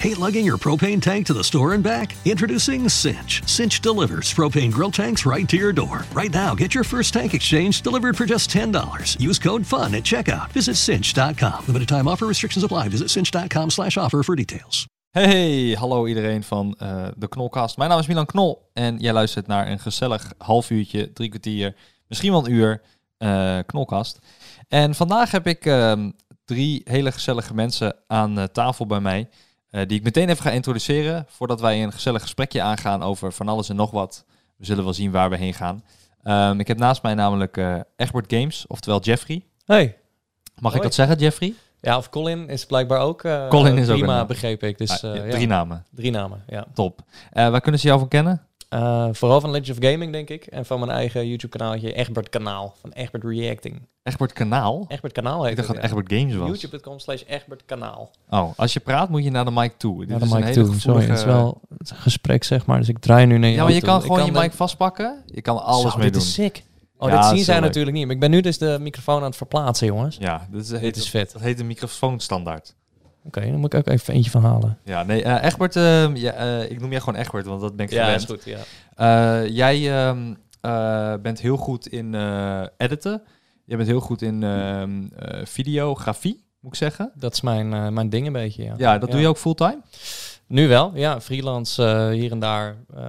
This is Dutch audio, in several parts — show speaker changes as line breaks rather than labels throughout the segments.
Hate lugging your propane tank to the store and back? Introducing Cinch. Cinch delivers propane grill tanks right to your door. Right now, get your first tank exchange delivered for just $10. Use code FUN at checkout. Visit cinch.com. Limited time offer restrictions apply. Visit cinch.com slash offer for details.
Hey, hallo iedereen van eh, de Knolcast. Mijn naam is Milan Knol en jij luistert naar een gezellig half uurtje, drie kwartier, misschien wel een uur eh, Knolcast. En vandaag heb ik ehm, drie hele gezellige mensen aan eh, tafel bij mij, eh, die ik meteen even ga introduceren voordat wij een gezellig gesprekje aangaan over van alles en nog wat. We zullen wel zien waar we heen gaan. Ehm, ik heb naast mij namelijk eh, Egbert Games, oftewel Jeffrey.
Hey.
Mag ik
Hoi.
dat zeggen, Jeffrey?
Ja, of Colin is blijkbaar ook eh,
Colin is ook
prima,
een naam.
begreep ik. Dus,
Ah,
eh,
ja,
ja,
drie namen,
drie namen, ja.
top. Eh, waar kunnen ze jou van kennen?
Eh, vooral van Legend of Gaming, denk ik. En van mijn eigen YouTube-kanaaltje, Egbert Kanaal. Van Egbert Reacting.
Egbert Kanaal?
Egbert Kanaal
Ik
heet
dacht dat
het,
het
ja.
Egbert Games was.
YouTube.com slash Egbert Kanaal.
Oh, als je praat moet je naar de mic toe. Dit
Ja,
is
dan
een
mic
hele
toe.
gevoelige-
Sorry, het is wel het is een gesprek, zeg maar. Dus ik draai nu naar
Ja, maar je
toe.
kan
Ik
gewoon je
de-
mic vastpakken. Je kan alles
Zo,
mee
dit
doen.
is sick. Oh,
Ja,
dit
dat is
zien zij
heel leuk.
natuurlijk niet. Maar ik ben nu dus de microfoon aan het verplaatsen, jongens.
Ja, dit is, heet-
is vet.
Dat heet een microfoonstandaard.
Oké, dan moet ik ook even eentje van halen.
Ja, nee, eh, Egbert, ehm, ja, eh, ik noem jij gewoon Egbert, want dat ben ik gewend.
goed, ja.
Eh, jij ehm, eh, bent heel goed in eh, editen. Je bent heel goed in ehm, eh, videografie, moet ik zeggen.
Dat is mijn, eh, mijn ding een beetje, ja.
Ja, dat doe je ook fulltime.
Nu wel, ja. Freelance eh, hier en daar. eh,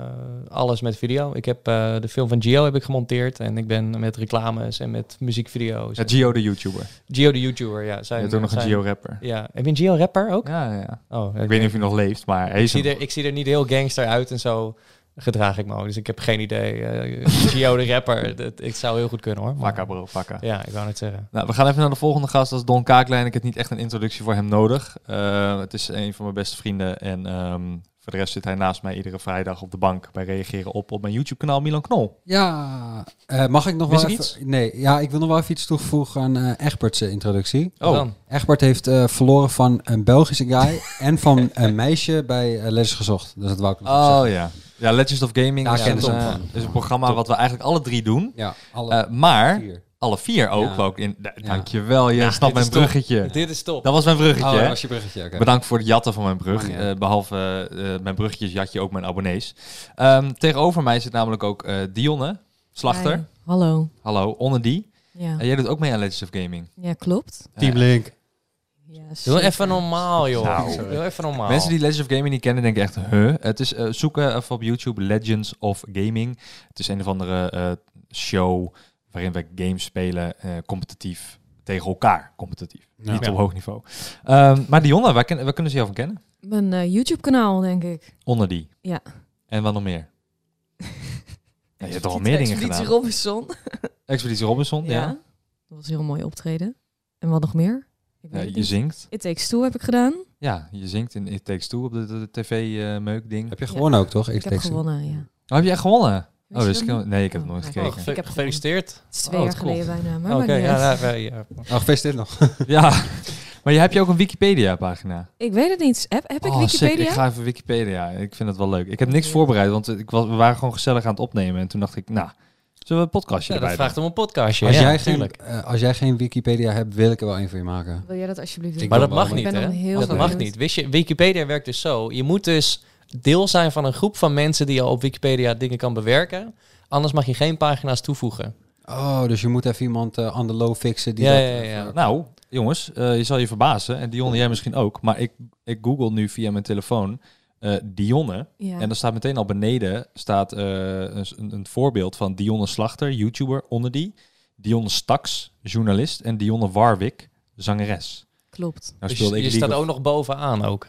alles met video. Ik heb eh, de film van Gio heb ik gemonteerd. En ik ben met reclames en met muziekvideo's.
Ja, Gio de YouTuber.
Gio de YouTuber, ja.
Je
Zijn,
bent ook nog een
zijn-
Gio-rapper.
Ja. Heb je een Gio rapper ook?
Ja, ja, ja.
Oh,
Ik weet niet of hij nog leeft, maar hij
ik
is
zie,
een-
er, ik zie er niet heel gangster uit en zo gedraag ik me ook. Dus ik heb geen idee. Eh, Gio de rapper, dat, ik zou heel goed kunnen hoor. Maar-
Fakka, bro, fakka.
Ja, ik wou net zeggen.
Nou, we gaan even naar de volgende gast. Dat is Don Kaaklijn. Ik heb niet echt een introductie voor hem nodig. Eh, het is een van mijn beste vrienden. En ehm, voor de rest zit hij naast mij iedere vrijdag op de bank bij reageren op op mijn YouTube-kanaal Milan Knol.
Ja, eh, mag ik nog
Mis
wel
ik
even... Nee, ja, ik wil nog wel even iets toevoegen aan eh Egbert's eh, introductie.
Wat
Oh.
dan?
Egbert heeft eh, verloren van een Belgische guy en van een meisje bij eh Les Gezocht. Dus dat wou ik nog even zeggen.
Oh ja. Ja, Legends of Gaming
Daar
is,
kennen
een,
ze hem
eh,
van.
is een programma wat we eigenlijk alle drie doen.
Ja, alle
Eh, maar
vier.
alle vier ook.
Ja.
wou ik in, da-
Ja.
Dankjewel, je snapt
dit
mijn
is top.
bruggetje.
Dit is top.
Dat was mijn bruggetje.
Oh,
hè?
dat was je bruggetje. oké.
Bedankt voor het jatten van mijn brug.
Mag niet
Eh,
uit.
behalve eh, eh, mijn bruggetjes jat je ook mijn abonnees. Ehm, tegenover mij zit namelijk ook eh, Dionne, slachter.
Hi. Hallo.
Hallo, onder die.
Ja,
En jij doet ook mee aan Legends of Gaming.
ja klopt.
Team Link.
Ja,
Doe
zeker.
even normaal, joh.
Nou.
Doe even normaal.
Oh.
Mensen die Legends of Gaming niet kennen, denken echt, huh? Het is eh, zoeken even op YouTube Legends of Gaming. Het is een of andere eh, show waarin we games spelen, eh, competitief, tegen elkaar competitief.
Ja.
Niet op hoog niveau. Ehm, maar Dionne, waar, ken- waar kunnen ze jou van kennen?
Mijn eh, YouTube-kanaal, denk ik.
Onder die.
Ja.
En wat nog meer? Ja, je hebt toch al meer dingen
Expeditie
gedaan?
Robinson.
Expeditie Robinson, ja.
Ja. Dat was een heel mooi optreden. En wat nog meer? Ik
Ja,
weet het
je
niet.
zingt.
It Takes Two heb ik gedaan.
Ja, je zingt in It Takes Two op de, tv-meuk ding.
Heb je gewonnen ook, toch?
Ik, heb
tekst-
gewonnen, ja.
Oh, heb jij gewonnen?
Weet
Oh,
je
dus
dat
ik,
niet?
nee, ik heb het
Oh,
nooit
kijk.
gekeken.
Ik heb
gefeliciteerd.
Het is twee
Oh,
jaar
wat cool.
geleden bijna, maar
Oké,
maakt niet
ja,
uit.
daar- wij, ja.
Oh, gefeliciteerd nog.
Ja, maar je, heb je ook een Wikipedia-pagina?
Ik weet het niet. Heb, heb ik
Oh, sick.
Wikipedia?
Ik ga even Wikipedia. Ik vind het wel leuk. Ik heb niks
Oké.
voorbereid, want ik was, we waren gewoon gezellig aan het opnemen. En toen dacht ik, nou, zullen we een podcastje
Ja, dat
erbij
vraagt om een podcastje.
Als,
ja,
jij geen,
tuurlijk.
eh, als jij geen Wikipedia hebt, wil ik er wel één voor je maken.
Wil jij dat alsjeblieft
Ik
doen?
Maar
wil
dat
wel,
mag
maar-
niet,
ik ben
hè?
dan heel
dat mag
benieuwd.
niet. Wist je, Wikipedia werkt dus zo. Je moet dus deel zijn van een groep van mensen die al op Wikipedia dingen kan bewerken. Anders mag je geen pagina's toevoegen.
Oh, dus je moet even iemand eh on the low fixen. Die
Ja,
dat, eh,
ja, ja, ja.
even-
doen? Nou, jongens, eh, je zal je verbazen. En Dionne, jij misschien ook. Maar ik, ik google nu via mijn telefoon eh, Dionne.
Ja.
En dan staat meteen al beneden staat, eh, een, een voorbeeld van Dionne Slachter, YouTuber, onder die. Dionne Staks, journalist. En Dionne Warwick, zangeres.
Klopt.
Nou
Dus
speelde
je,
ik League
je staat
of-
ook nog bovenaan ook.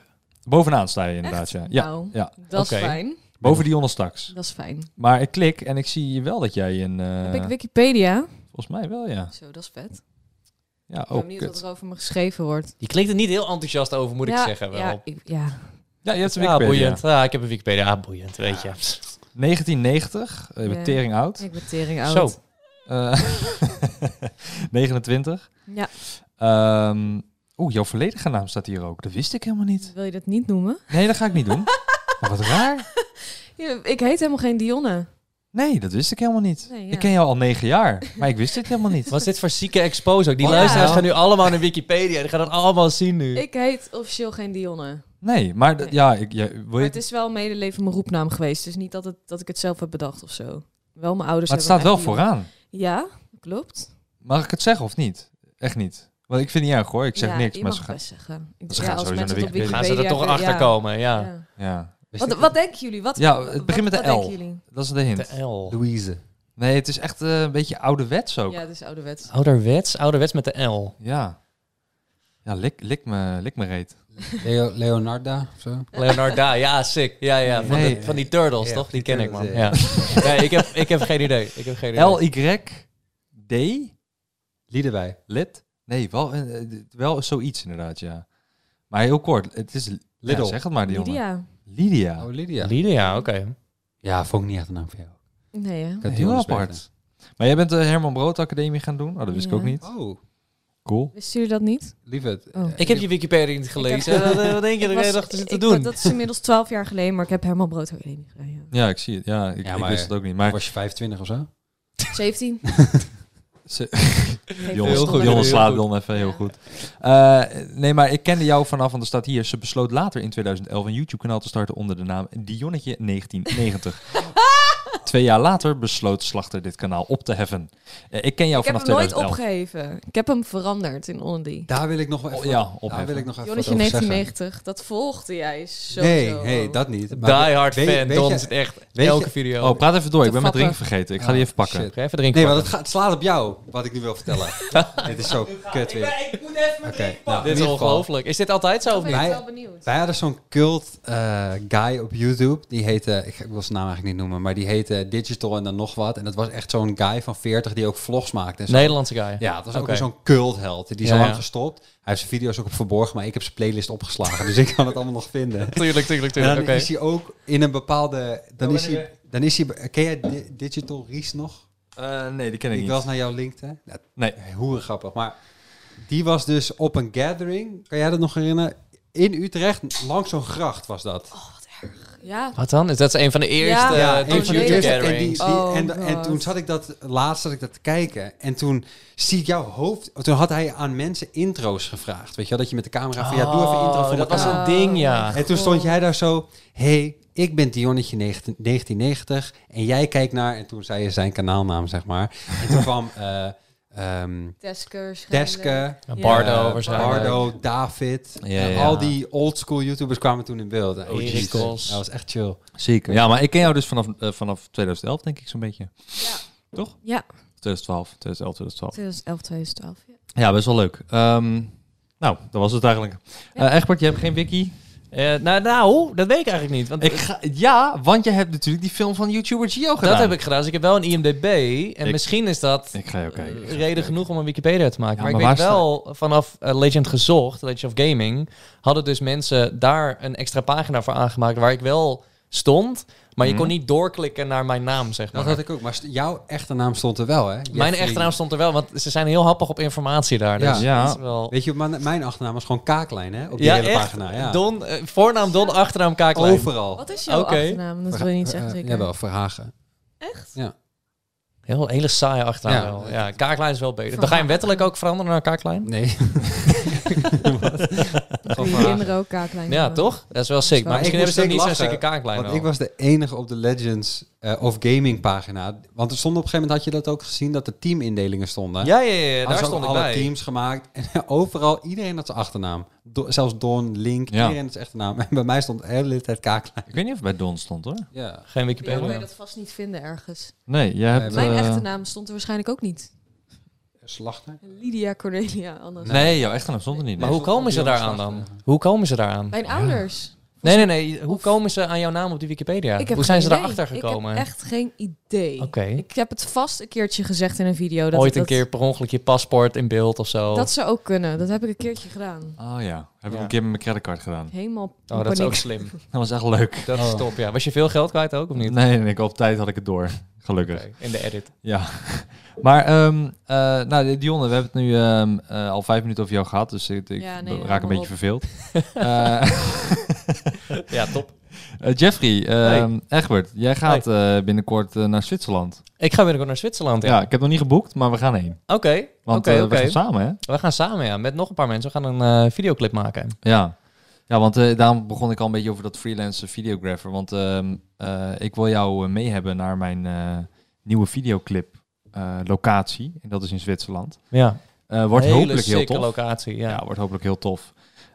Bovenaan sta je inderdaad,
Echt?
ja. Ja,
Nou,
ja.
Dat
Oké.
is fijn.
Boven Dionne straks.
Dat is fijn.
Maar ik klik en ik zie wel dat jij een... eh,
heb ik Wikipedia?
volgens mij wel, ja.
Zo, dat is vet.
Ja, oh,
Oh,
ik ben
ook.
benieuwd wat er over me geschreven wordt.
Je klinkt er niet heel enthousiast over, moet
Ja,
ik zeggen. Wel.
Ja, ik- ja,
ja, je hebt een
Ja,
Wikipedia.
boeiend. Ja, ik heb een Wikipedia. Ah, boeiend, weet je.
1990, eh, je bent
Ja.
tering oud.
ik ben tering oud.
Zo.
Eh, 29.
Ja.
Ehm, Oeh, jouw volledige naam staat hier ook. Dat wist ik helemaal niet.
Wil je dat niet noemen?
Nee, dat ga ik niet doen. Maar wat raar.
Ja, ik heet helemaal geen Dionne.
Nee, dat wist ik helemaal niet.
Nee, ja.
Ik ken jou al negen jaar, maar ik wist dit helemaal niet.
Wat is dit voor zieke expose ook? Die
Ja.
luisteraars gaan nu allemaal naar Wikipedia. Die gaan dat allemaal zien nu.
Ik heet officieel geen Dionne.
Nee, maar d-
Nee.
ja, ik, ja, wil
Maar
je
het is wel medeleven mijn roepnaam geweest. Dus niet dat, het, dat ik het zelf heb bedacht of zo. Wel mijn ouders
maar het staat
hebben
wel
me echt
vooraan.
Dionne- Ja, klopt.
Mag ik het zeggen of niet? Echt niet. Want ik vind het niet erg hoor, ik zeg
Ja,
niks.
je
Maar
mag
ze gaan...
best zeggen. Ik,
ze gaan
als
sowieso
mensen
naar
het op
Wikipedia.
Gaan ze er
Wikipedia
toch
vinden,
achter komen? Ja.
ja. Ja.
Ja,
Wat, wat denken jullie? Wat,
Ja, het
wat-
begint met
wat
een
denken
L.
jullie?
dat is de hint.
De L.
Louise.
Nee, het is echt eh, een beetje ouderwets ook. Ah,
Ja, dus ouderwets.
Ouderwets, ouderwets met de L.
Ja. Ja, lik, lik, me, lik me reet.
Leo, Leonarda of zo.
Leonarda, ja, sick. Ja, ja, van,
Nee.
de- van die turtles,
Ja,
toch?
van
Die
die
ken ik, man.
turtles,
Ja. Nee, ik, heb, ik heb geen idee. Ik heb geen idee.
L-Y-D?
Liedewij.
Lid? Nee, wel, eh, eh, wel zoiets inderdaad, ja. Maar heel kort, het is... Lidl.
Lidl.
zeg het maar, Dionne. Lydia.
Lydia.
Lydia.
Oh, Lydia.
Lydia, oké.
Ja, vond ik niet echt een naam voor jou.
Nee, hè?
Ik had die
heel
anders
apart. Maar jij bent de Herman Brood Academie gaan doen? Oh, dat wist ik
Ja.
ook niet.
weten. Oh,
Cool.
Wisten jullie dat niet?
lief het.
Oh.
Ik heb je Wikipedia niet gelezen.
Ik heb-
Wat- Wat denk je
Ik
dat jij
was-
dacht te zitten
ik-
doen?
Dat is inmiddels twaalf jaar geleden, maar ik heb helemaal Brood Academie gedaan, ja.
Ja, ik zie het. Ja, ik,
Ja,
ik
maar-
wist het ook niet. Maar
Was je 25 of zo?
17.
ze-
Geen
jongens,
goed.
verstand.
jongens
Heel
slaat
goed.
dan even heel
Ja.
goed. Eh, nee, maar ik kende jou vanaf, want er staat hier... Ze besloot later in 2011 een YouTube-kanaal te starten onder de naam Dionnetje 1990. Twee jaar later besloot Slachter dit kanaal op te heffen. Eh, ik ken jou
Ik heb
vanaf
hem nooit
2011.
opgeheven. Ik heb hem veranderd in Ondi.
Daar wil ik nog wel even,
Oh, ja,
wat- daar
opheffen.
wil ik nog even wat
Jonnetje
over zeggen.
1990, dat volgde jij zo.
Nee, nee, dat niet.
Die hard
weet-
fan,
weet
Don
je-
zit echt
weet
elke
je-
video.
Oh, praat even door. Ik
Te
ben mijn drink
vatten.
vergeten. Ik ga die even pakken.
shit.
Ga even drinken.
Nee, want het, gaat, het slaat op jou, wat ik nu wil vertellen. Dit is zo kut weer.
ik moet even
Oké, nou,
Dit is
in ieder geval,
ongelooflijk. Is dit altijd zo of
Dat ben
niet?
ik
Mij-
wel benieuwd.
Wij hadden zo'n cult eh, guy op YouTube. Die heette, ik wil zijn naam eigenlijk niet noemen, maar die heette Digital en dan nog wat. En dat was echt zo'n guy van 40 die ook vlogs maakte. En zo.
Nederlandse guy.
Ja, dat was ook
Oké.
weer zo'n cultheld. Die is
Ja,
al lang
ja.
gestopt. Hij heeft zijn video's ook op verborgen, maar ik heb zijn playlist opgeslagen. dus ik kan het allemaal nog vinden.
Tuurlijk, tuurlijk,
En dan
tuurlijk. Oké.
is hij ook in een bepaalde... Dan
Oh,
is hij... Dan is hij ken jij Di- Digital Ries nog?
Eh, nee, die ken ik
Die ik
niet.
wel eens naar jou linkte. Ja,
Nee.
Hoe grappig. Maar die was dus op een gathering. Kan jij dat nog herinneren? In Utrecht, langs zo'n gracht was dat.
Ja,
Wat dan? Is dat een van de eerste eh,
Ja,
ja,
een
een van de
nee.
eerste. En, die,
gatherings?
die,
Oh
en, en
God.
toen zat ik dat laatst zat ik dat te kijken. En toen zie ik jouw hoofd. Toen had hij aan mensen intro's gevraagd. Weet je wel, dat je met de camera van ja, doe even intro
Oh,
voor
Dat was
elkaar.
een ding,
Oh,
ja.
En toen stond jij daar zo. hey, ik ben Dionnetje 19- 1990. En jij kijkt naar. En toen zei je zijn kanaalnaam, zeg maar. En toen kwam. eh ehm,
Teskers.
Deske,
Ja, Bardo
eh,
waarschijnlijk.
Bardo, David.
Ja,
En
ja.
Al die oldschool YouTubers kwamen toen in beeld. En
Erik
OG's.
Kos.
Dat was echt chill.
Zeker. Ja, maar ik ken jou dus vanaf, eh, vanaf 2011, denk ik zo'n beetje.
Ja.
Toch?
Ja,
2012, 2011, 2012.
2011, 2012. ja.
Ja, best wel leuk. Ehm, nou, dat was het eigenlijk. Eh
Ja.
Egbert, je hebt geen wiki?
Eh, nou, nou, dat weet ik eigenlijk niet. Want
Ik ga, ja, want je hebt natuurlijk die film van YouTuber Gio gedaan.
dat heb ik gedaan. Dus ik heb wel een IMDB. En
Ik-
misschien is dat
Ik ga jou kijken.
eh, reden genoeg om een Wikipedia te maken.
Ja,
maar,
maar
ik weet
waar sta-
wel, vanaf eh, Legend gezocht, Legend of Gaming, hadden dus mensen daar een extra pagina voor aangemaakt waar ik wel stond. Maar je
Mhm.
kon niet doorklikken naar mijn naam, zeg maar.
Dat had ik ook. Maar st- jouw echte naam stond er wel, hè?
mijn
Jeffrey.
echte naam stond er wel, want ze zijn heel happig op informatie daar. Dus
Ja.
Ja.
dat is wel...
Weet je, mijn, mijn achternaam was gewoon Kaaklijn, hè? Op die hele pagina. Ja.
Don, eh, voornaam Don, achternaam Kaaklijn.
Overal.
Wat is jouw
Oké.
achternaam? Dat wil je niet zeggen
Oh, Eh,
zeker.
jawel, Verhagen.
Echt?
Heel hele saaie achternaam
Ja.
wel. Ja, Kaaklijn is wel beter. Dan ga je hem wettelijk ook veranderen naar Kaaklijn?
Nee.
Voor je kinderen ook kaaklijn.
Ja, toch? Dat is wel sick. Maar
Maar
misschien
ik
hebben ze dan
moest
niet zo'n sikke
lachen,
Kaaklijn
Want
wel.
ik was de enige op de Legends eh, of Gaming pagina. Want er stond op een gegeven moment, had je dat ook gezien, dat er teamindelingen stonden.
Ja, ja, ja, ja,
Hadden
daar
ze
stond
ook
ik
alle
bij.
teams gemaakt. En overal, iedereen had zijn achternaam. Do- zelfs Don, Link,
Ja.
iedereen had zijn achternaam. En bij mij stond de hele tijd kaaklijn.
Ik weet niet of het bij Don stond hoor.
Ja.
Geen
Ja,
Wikipedia.
kan je dat vast niet vinden ergens.
Nee, jij hebt.
Mijn
eh,
echte naam stond er waarschijnlijk ook niet.
Slachter?
Lydia Cornelia anders.
Nee, jouw echte naam stond er niet.
maar
nee.
hoe komen ze
Johan
daaraan dan?
Slachter.
Hoe komen ze daaraan?
Mijn ouders.
Nee, nee, nee. Hoe komen ze aan jouw naam op die Wikipedia?
Ik heb
Hoe zijn
geen
ze
idee.
daarachter
Ik
gekomen?
heb echt geen idee.
Oké.
Ik heb het vast een keertje gezegd in een video. Dat
Ooit een
dat-
keer per ongeluk je paspoort in beeld of zo.
Dat zou ook kunnen. Dat heb ik een keertje gedaan.
Oh ja, heb ik
Ja.
een keer met mijn creditcard gedaan.
Helemaal
Oh, dat is ook slim.
Dat was echt leuk.
Dat is
Oh.
top, ja. Was je veel geld kwijt ook, of niet?
Nee, nee, ik op tijd had ik het door. Gelukkig.
Oké, In de edit.
Ja, maar ehm, eh, nou, Dionne, we hebben het nu ehm, eh, al vijf minuten over jou gehad, dus ik, ik
Ja, nee,
raak
hou
een
maar
beetje
op.
verveeld. Eh,
Ja, top.
Eh, Jeffrey, ehm Egbert, jij gaat eh, binnenkort eh, naar Zwitserland.
Ik ga binnenkort naar Zwitserland.
Ja.
Ja.
ik heb nog niet geboekt, maar we gaan heen.
Oké, oké,
Want
oké.
eh, we gaan samen, hè?
We gaan samen, ja, met nog een paar mensen. We gaan een eh, videoclip maken.
Ja, ja want eh, daarom begon ik al een beetje over dat freelance videographer. Want ehm, eh, ik wil jou eh, mee hebben naar mijn eh, nieuwe videoclip eh, locatie. En dat is in Zwitserland.
Ja.
Eh, wordt
Hele
hopelijk heel
sikke
tof.
locatie, ja.
ja. wordt hopelijk heel tof.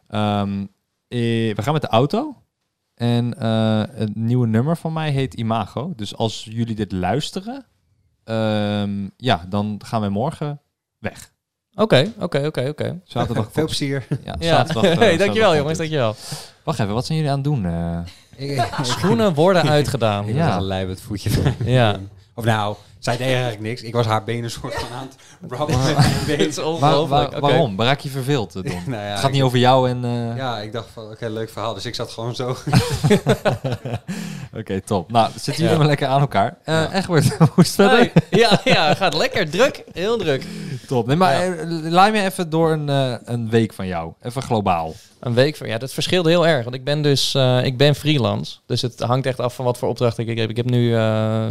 Ehm, eh, we gaan met de auto. En eh, het nieuwe nummer van mij heet Imago. Dus als jullie dit luisteren, ehm, ja, dan gaan we morgen weg.
Oké, oké, oké, oké.
Zaterdag.
Veel plezier.
Ja,
Ja,
zaterdag. eh,
hey, dankjewel
zaterdag-
jongens, dankjewel.
Wacht even, wat zijn jullie aan het doen? eh?
Schoenen worden uitgedaan.
Ik
Ja.
was een lijp het voetje.
Ja.
Of nou, zij deed eigenlijk niks. Ik was haar benen soort van aan het rubben. met mijn been.
is
Waar-
ongelooflijk.
waar-
Oké.
Waarom? Raak je verveeld, eh, Don?
Nou ja,
het
ik-
gaat niet over jou en... eh,
Ja, ik dacht van, oké, leuk verhaal. Dus ik zat gewoon zo.
Oké, top. Nou, zitten jullie
Ja.
helemaal lekker aan elkaar. Eh Egbert, hoe is het verder?
Hey, Ja, ja, gaat lekker. Druk. Heel druk.
Top. Nee, maar
Ja.
eh, laai me even door een, eh, een week van jou. Even globaal.
Een week van ja, dat verschilde heel erg. Want ik ben dus eh, ik ben freelance. Dus het hangt echt af van wat voor opdracht ik heb. Ik heb nu. eh,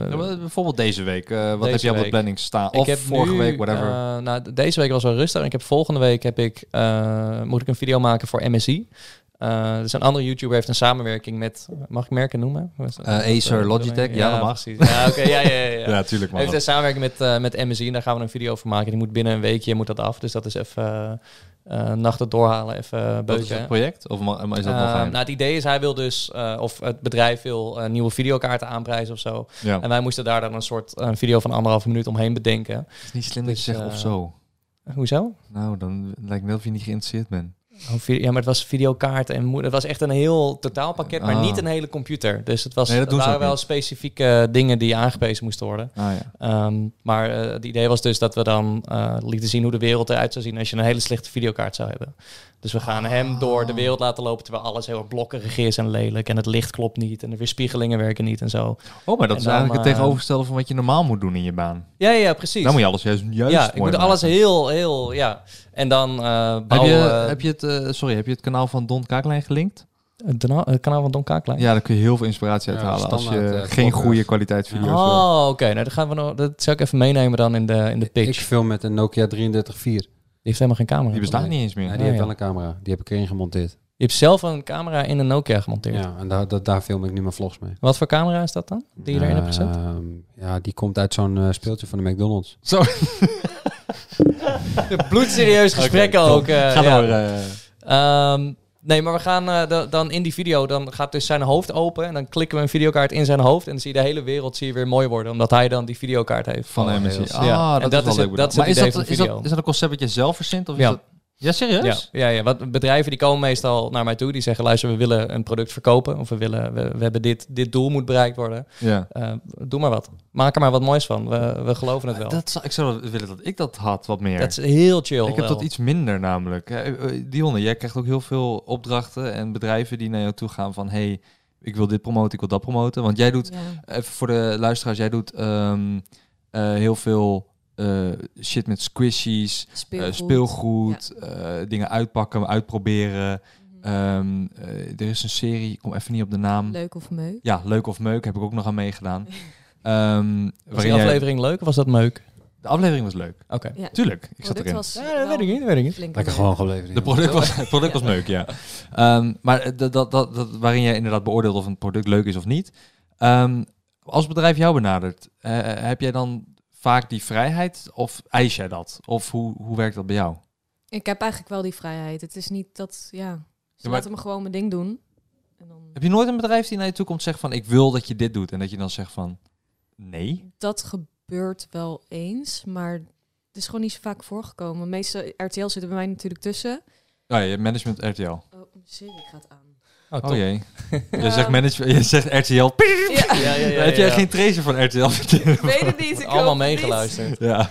Ja, maar bijvoorbeeld deze week. eh, wat
Deze
heb je op de
week.
planning staan?
ik
Of
heb
vorige
nu,
week, whatever.
eh, nou, d- deze week was wel rustig. En ik heb volgende week heb ik, eh, moet ik een video maken voor MSI. Eh dus een andere YouTuber heeft een samenwerking met, mag ik merken noemen?
Eh, Acer, Logitech, ja, dat mag.
Precies. Ja, oké, ja, ja, ja, ja.
tuurlijk
Hij heeft een samenwerking met, eh, met MSI en daar gaan we een video van maken. Die moet binnen een weekje moet dat af. Dus dat is even eh, eh, nachten doorhalen, even eh,
Dat is
beuken.
het project? Of ma- maar is dat nog
Ehm,
geheim?
nou, het idee is, hij wil dus, eh, of het bedrijf wil eh, nieuwe videokaarten aanprijzen of zo.
ja.
En wij moesten daar dan een soort een video van anderhalve minuut omheen bedenken.
Het is niet slim
dat
dat
je dus,
je zegt
zegt
of
of eh,
zo.
Hoezo?
Nou, dan lijkt me wel of je niet geïnteresseerd bent.
Oh, vi- Ja, maar het was videokaarten en moe- het was echt een heel totaalpakket, maar
Ah.
niet een hele computer. Dus het was,
Nee, dat
er
doen ze
waren
ook
wel specifieke dingen die aangewezen moesten worden.
Ah, ja.
Ehm, maar eh, het idee was dus dat we dan eh, lieten zien hoe de wereld eruit zou zien als je een hele slechte videokaart zou hebben. Dus we gaan hem door de wereld laten lopen terwijl alles heel erg blokkerig is en lelijk. En het licht klopt niet en de weerspiegelingen werken niet en zo.
Oh, maar dat
En
is
dan,
eigenlijk het
eh,
tegenovergestelde van wat je normaal moet doen in je baan.
Ja, ja, precies.
Dan Nou moet je alles juist, juist
ja, ik
mooi
moet
maken.
alles heel, heel, ja. En dan eh
Heb
bouwen...
je, heb je het, eh, sorry, heb je het kanaal van Don Kaaklijn gelinkt?
het dana- het kanaal van Don Kaaklijn?
Ja, daar kun je heel veel inspiratie uit
Ja,
halen als je
standaard, eh,
geen
vloggers.
goede kwaliteit video's wil.
Oh, oké. Nou, dat, gaan we nog, dat zou ik even meenemen dan in de, in de pitch.
Ik
Die
film met een Nokia 3304.
heeft helemaal geen camera.
Die
Je
bestaat niet eens meer.
Ja, die
Oh, ja.
heeft wel een camera. Die heb ik erin gemonteerd.
hebt zelf een camera in een Nokia gemonteerd.
Ja, en daar, daar, daar film ik nu mijn vlogs mee.
Wat voor camera is dat dan? Die je erin hebt
Eh,
gezet?
Ehm, ja, die komt uit zo'n eh, speeltje van de McDonald's.
Zo,
Bloedserieus gesprekken
Oké, top.
ook. eh,
ga
ja.
door. eh.
Ehm, nee, maar we gaan eh, da- dan in die video, dan gaat dus zijn hoofd open en dan klikken we een videokaart in zijn hoofd en dan zie je de hele wereld zie je weer mooi worden, omdat hij dan die videokaart heeft.
Van
Oh,
MSC.
heel
Ah,
Ja. En
dat,
dat
is wel leuk
is het-
bedacht.
dat is het
Maar is
idee
dat,
van
is, dat,
video.
is dat een concept wat je zelf verzint? Of is
Ja.
Dat... ja, serieus?
Ja, ja, ja. Wat bedrijven die komen meestal naar mij toe, die zeggen luister, we willen een product verkopen of we willen, we, we hebben dit, dit doel moet bereikt worden.
Ja.
Eh, doe maar wat. Maak er maar wat moois van. We, we geloven het wel. Dat,
Dat zou, ik zou wel willen dat ik dat had, wat meer.
is heel chill.
ik heb
wel.
dat iets minder namelijk. Eh, eh, Dionne, jij krijgt ook heel veel opdrachten en bedrijven die naar jou toe gaan van... hey, ik wil dit promoten, ik wil dat promoten. Want jij doet,
Ja.
even voor de luisteraars, jij doet ehm, eh, heel veel eh, shit met squishies.
Speelgoed.
Eh, speelgoed, eh, dingen uitpakken, uitproberen.
Mhm.
Ehm, eh, er is een serie, ik kom even niet op de naam.
Leuk of meuk.
Ja, Leuk of Meuk heb ik ook nog aan meegedaan. Ehm, waarin
Was die
jij-
aflevering leuk of was dat meuk?
De aflevering was leuk.
Oké.
Ja.
Tuurlijk, ik
Want
zat
Oh, dit
erin.
was
Ja, dat
wel
weet ik niet, dat weet ik niet.
flink
Lekker
leuk.
gewoon geleverd.
De product was, het product was meuk, ja. Ehm, maar eh, dat, dat, dat, dat- waarin jij inderdaad beoordeelt of een product leuk is of niet. Ehm, als bedrijf jou benadert, eh, heb jij dan vaak die vrijheid of eis jij dat? Of hoe, hoe werkt dat bij jou?
Ik heb eigenlijk wel die vrijheid. Het is niet dat, ja, ze
maar-
laten me gewoon mijn ding doen. En dan
Heb je nooit een bedrijf die naar je toe komt zegt van ik wil dat je dit doet en dat je dan zegt van nee?
Dat gebeurt wel eens, maar het is gewoon niet zo vaak voorgekomen. Meestal RTL zitten bij mij natuurlijk tussen.
Oh, ja, management RTL.
Oh, mijn serie gaat aan.
Oh, top.
Oh jee. Je
Ja.
zegt management, je zegt RTL. Piep.
Ja,
Ja, ja, ja,
Heb jij
ja.
geen tracer van RTL?
ik weet het niet. Ik
Allemaal
hoop het
meegeluisterd.
ja.
niet.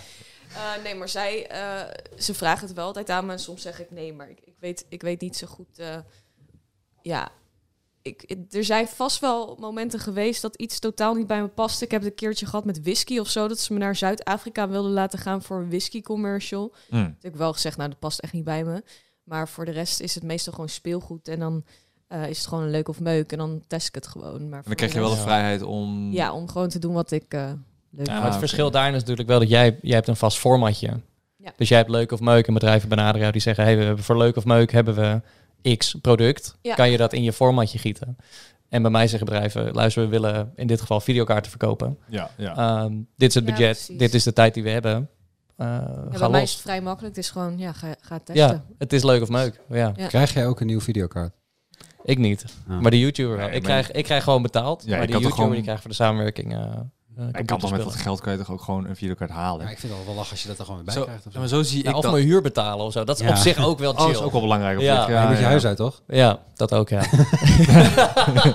Eh, nee, maar zij, eh, ze vragen het wel altijd aan me en soms zeg ik nee, maar ik, ik, weet, ik weet niet zo goed. eh, ja, ik, ik- er zijn vast wel momenten geweest dat iets totaal niet bij me past. Ik heb het een keertje gehad met whisky of zo, dat ze me naar Zuid-Afrika wilden laten gaan voor een whisky commercial.
Hm.
Ik heb wel gezegd, nou, dat past echt niet bij me. Maar voor de rest is het meestal gewoon speelgoed. En dan eh, is het gewoon leuk of meuk en dan test ik het gewoon. Maar
En dan krijg je wel de
Ja.
vrijheid om...
Ja, om gewoon te doen wat ik eh, leuk
Ja,
vind.
Ah,
maar het
oké.
verschil daarin is natuurlijk wel dat jij, jij hebt een vast formatje.
Ja.
Dus jij hebt leuk of meuk en bedrijven benaderen jou die zeggen, hey, we hebben voor leuk of meuk hebben we x product.
Ja.
Kan je dat in je formatje gieten? En bij mij zeggen bedrijven, luister, we willen in dit geval videokaarten verkopen.
ja, ja.
Ehm, dit is het
Ja,
budget,
precies.
dit is de tijd die we hebben. Eh,
Ja,
ga
bij mij is
los.
het vrij makkelijk. Het is gewoon, ja, ga, ga testen.
Ja, het is leuk of meuk. Ja,
Ja.
Krijg jij ook een nieuwe videokaart?
ik niet.
Ah.
Maar de YouTuber wel.
Nee,
ik,
maar-
krijg, ik krijg gewoon betaald.
Ja,
maar
ik
de
had toch
YouTuber
gewoon-
die krijgt voor de samenwerking... eh, eh,
ik kan
computerspellen.
toch met dat geld kan je toch ook gewoon een videokaart halen?
Ja, ik vind het al wel lach als je dat er gewoon weer bij
zo,
krijgt. Of
ja, maar zo zie
Ja,
ik
Nou, of
dat...
mijn huur betalen of zo. Dat is
Ja.
op zich ook wel
Oh,
chill.
is ook wel belangrijk. op
Ja.
zich.
Ja,
je moet je huis uit, toch?
Ja, dat ook, ja. Heel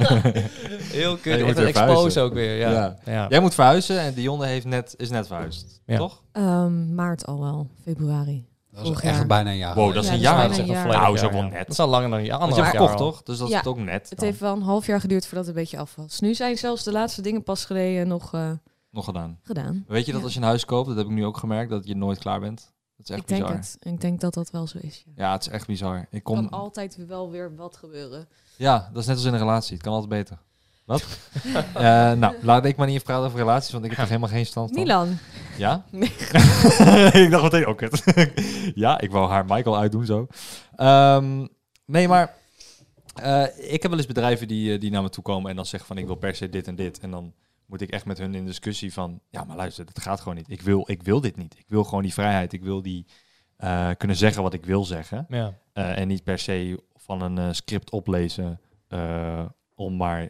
Ja, je moet
kut. Even
weer verhuizen.
expose ook weer, ja.
Ja.
ja.
Jij moet verhuizen en Dionne heeft net, is net verhuisd,
Ja.
toch?
Ehm, maart al wel, februari.
Dat is
Vorig
echt
jaar.
bijna een jaar.
Wow, dat
dat
is
is
een
bijna
jaar.
een
zeg.
jaar.
Nou,
Nou,
is ook
zo
wel
wel net.
net.
Dat is al langer dan je
Want je
anderhalf
hebt
jaar
verkocht,
al.
toch? Dus dat
Ja.
is het ook net.
Het
dan.
heeft wel een half jaar geduurd voordat het een beetje af was. Nu zijn zelfs de laatste dingen pas geleden nog eh,
Nog gedaan.
gedaan.
Weet je dat
Ja.
als je een huis koopt, dat heb ik nu ook gemerkt, dat je nooit klaar bent? Dat is echt
ik denk
bizar.
het. Ik denk dat dat wel zo is. Ja.
Ja, het is echt bizar. Ik
Er
kom...
kan altijd wel weer wat gebeuren.
Ja, dat is net als in een relatie. Het kan altijd beter. Wat? Eh, nou, laat ik maar niet even praten over relaties, want ik heb er helemaal geen stand van.
Milan.
Ja?
Nee.
ik dacht meteen, ook het. ja, ik wou haar Michael uitdoen zo. Ehm, nee, maar eh, ik heb wel eens bedrijven die, eh, die naar me toe komen en dan zeggen van ik wil per se dit en dit. En dan moet ik echt met hun in discussie van ja, maar luister, dat gaat gewoon niet. Ik wil, ik wil dit niet. Ik wil gewoon die vrijheid. Ik wil die eh, kunnen zeggen wat ik wil zeggen.
Ja.
Eh, en niet per se van een eh, script oplezen eh, om maar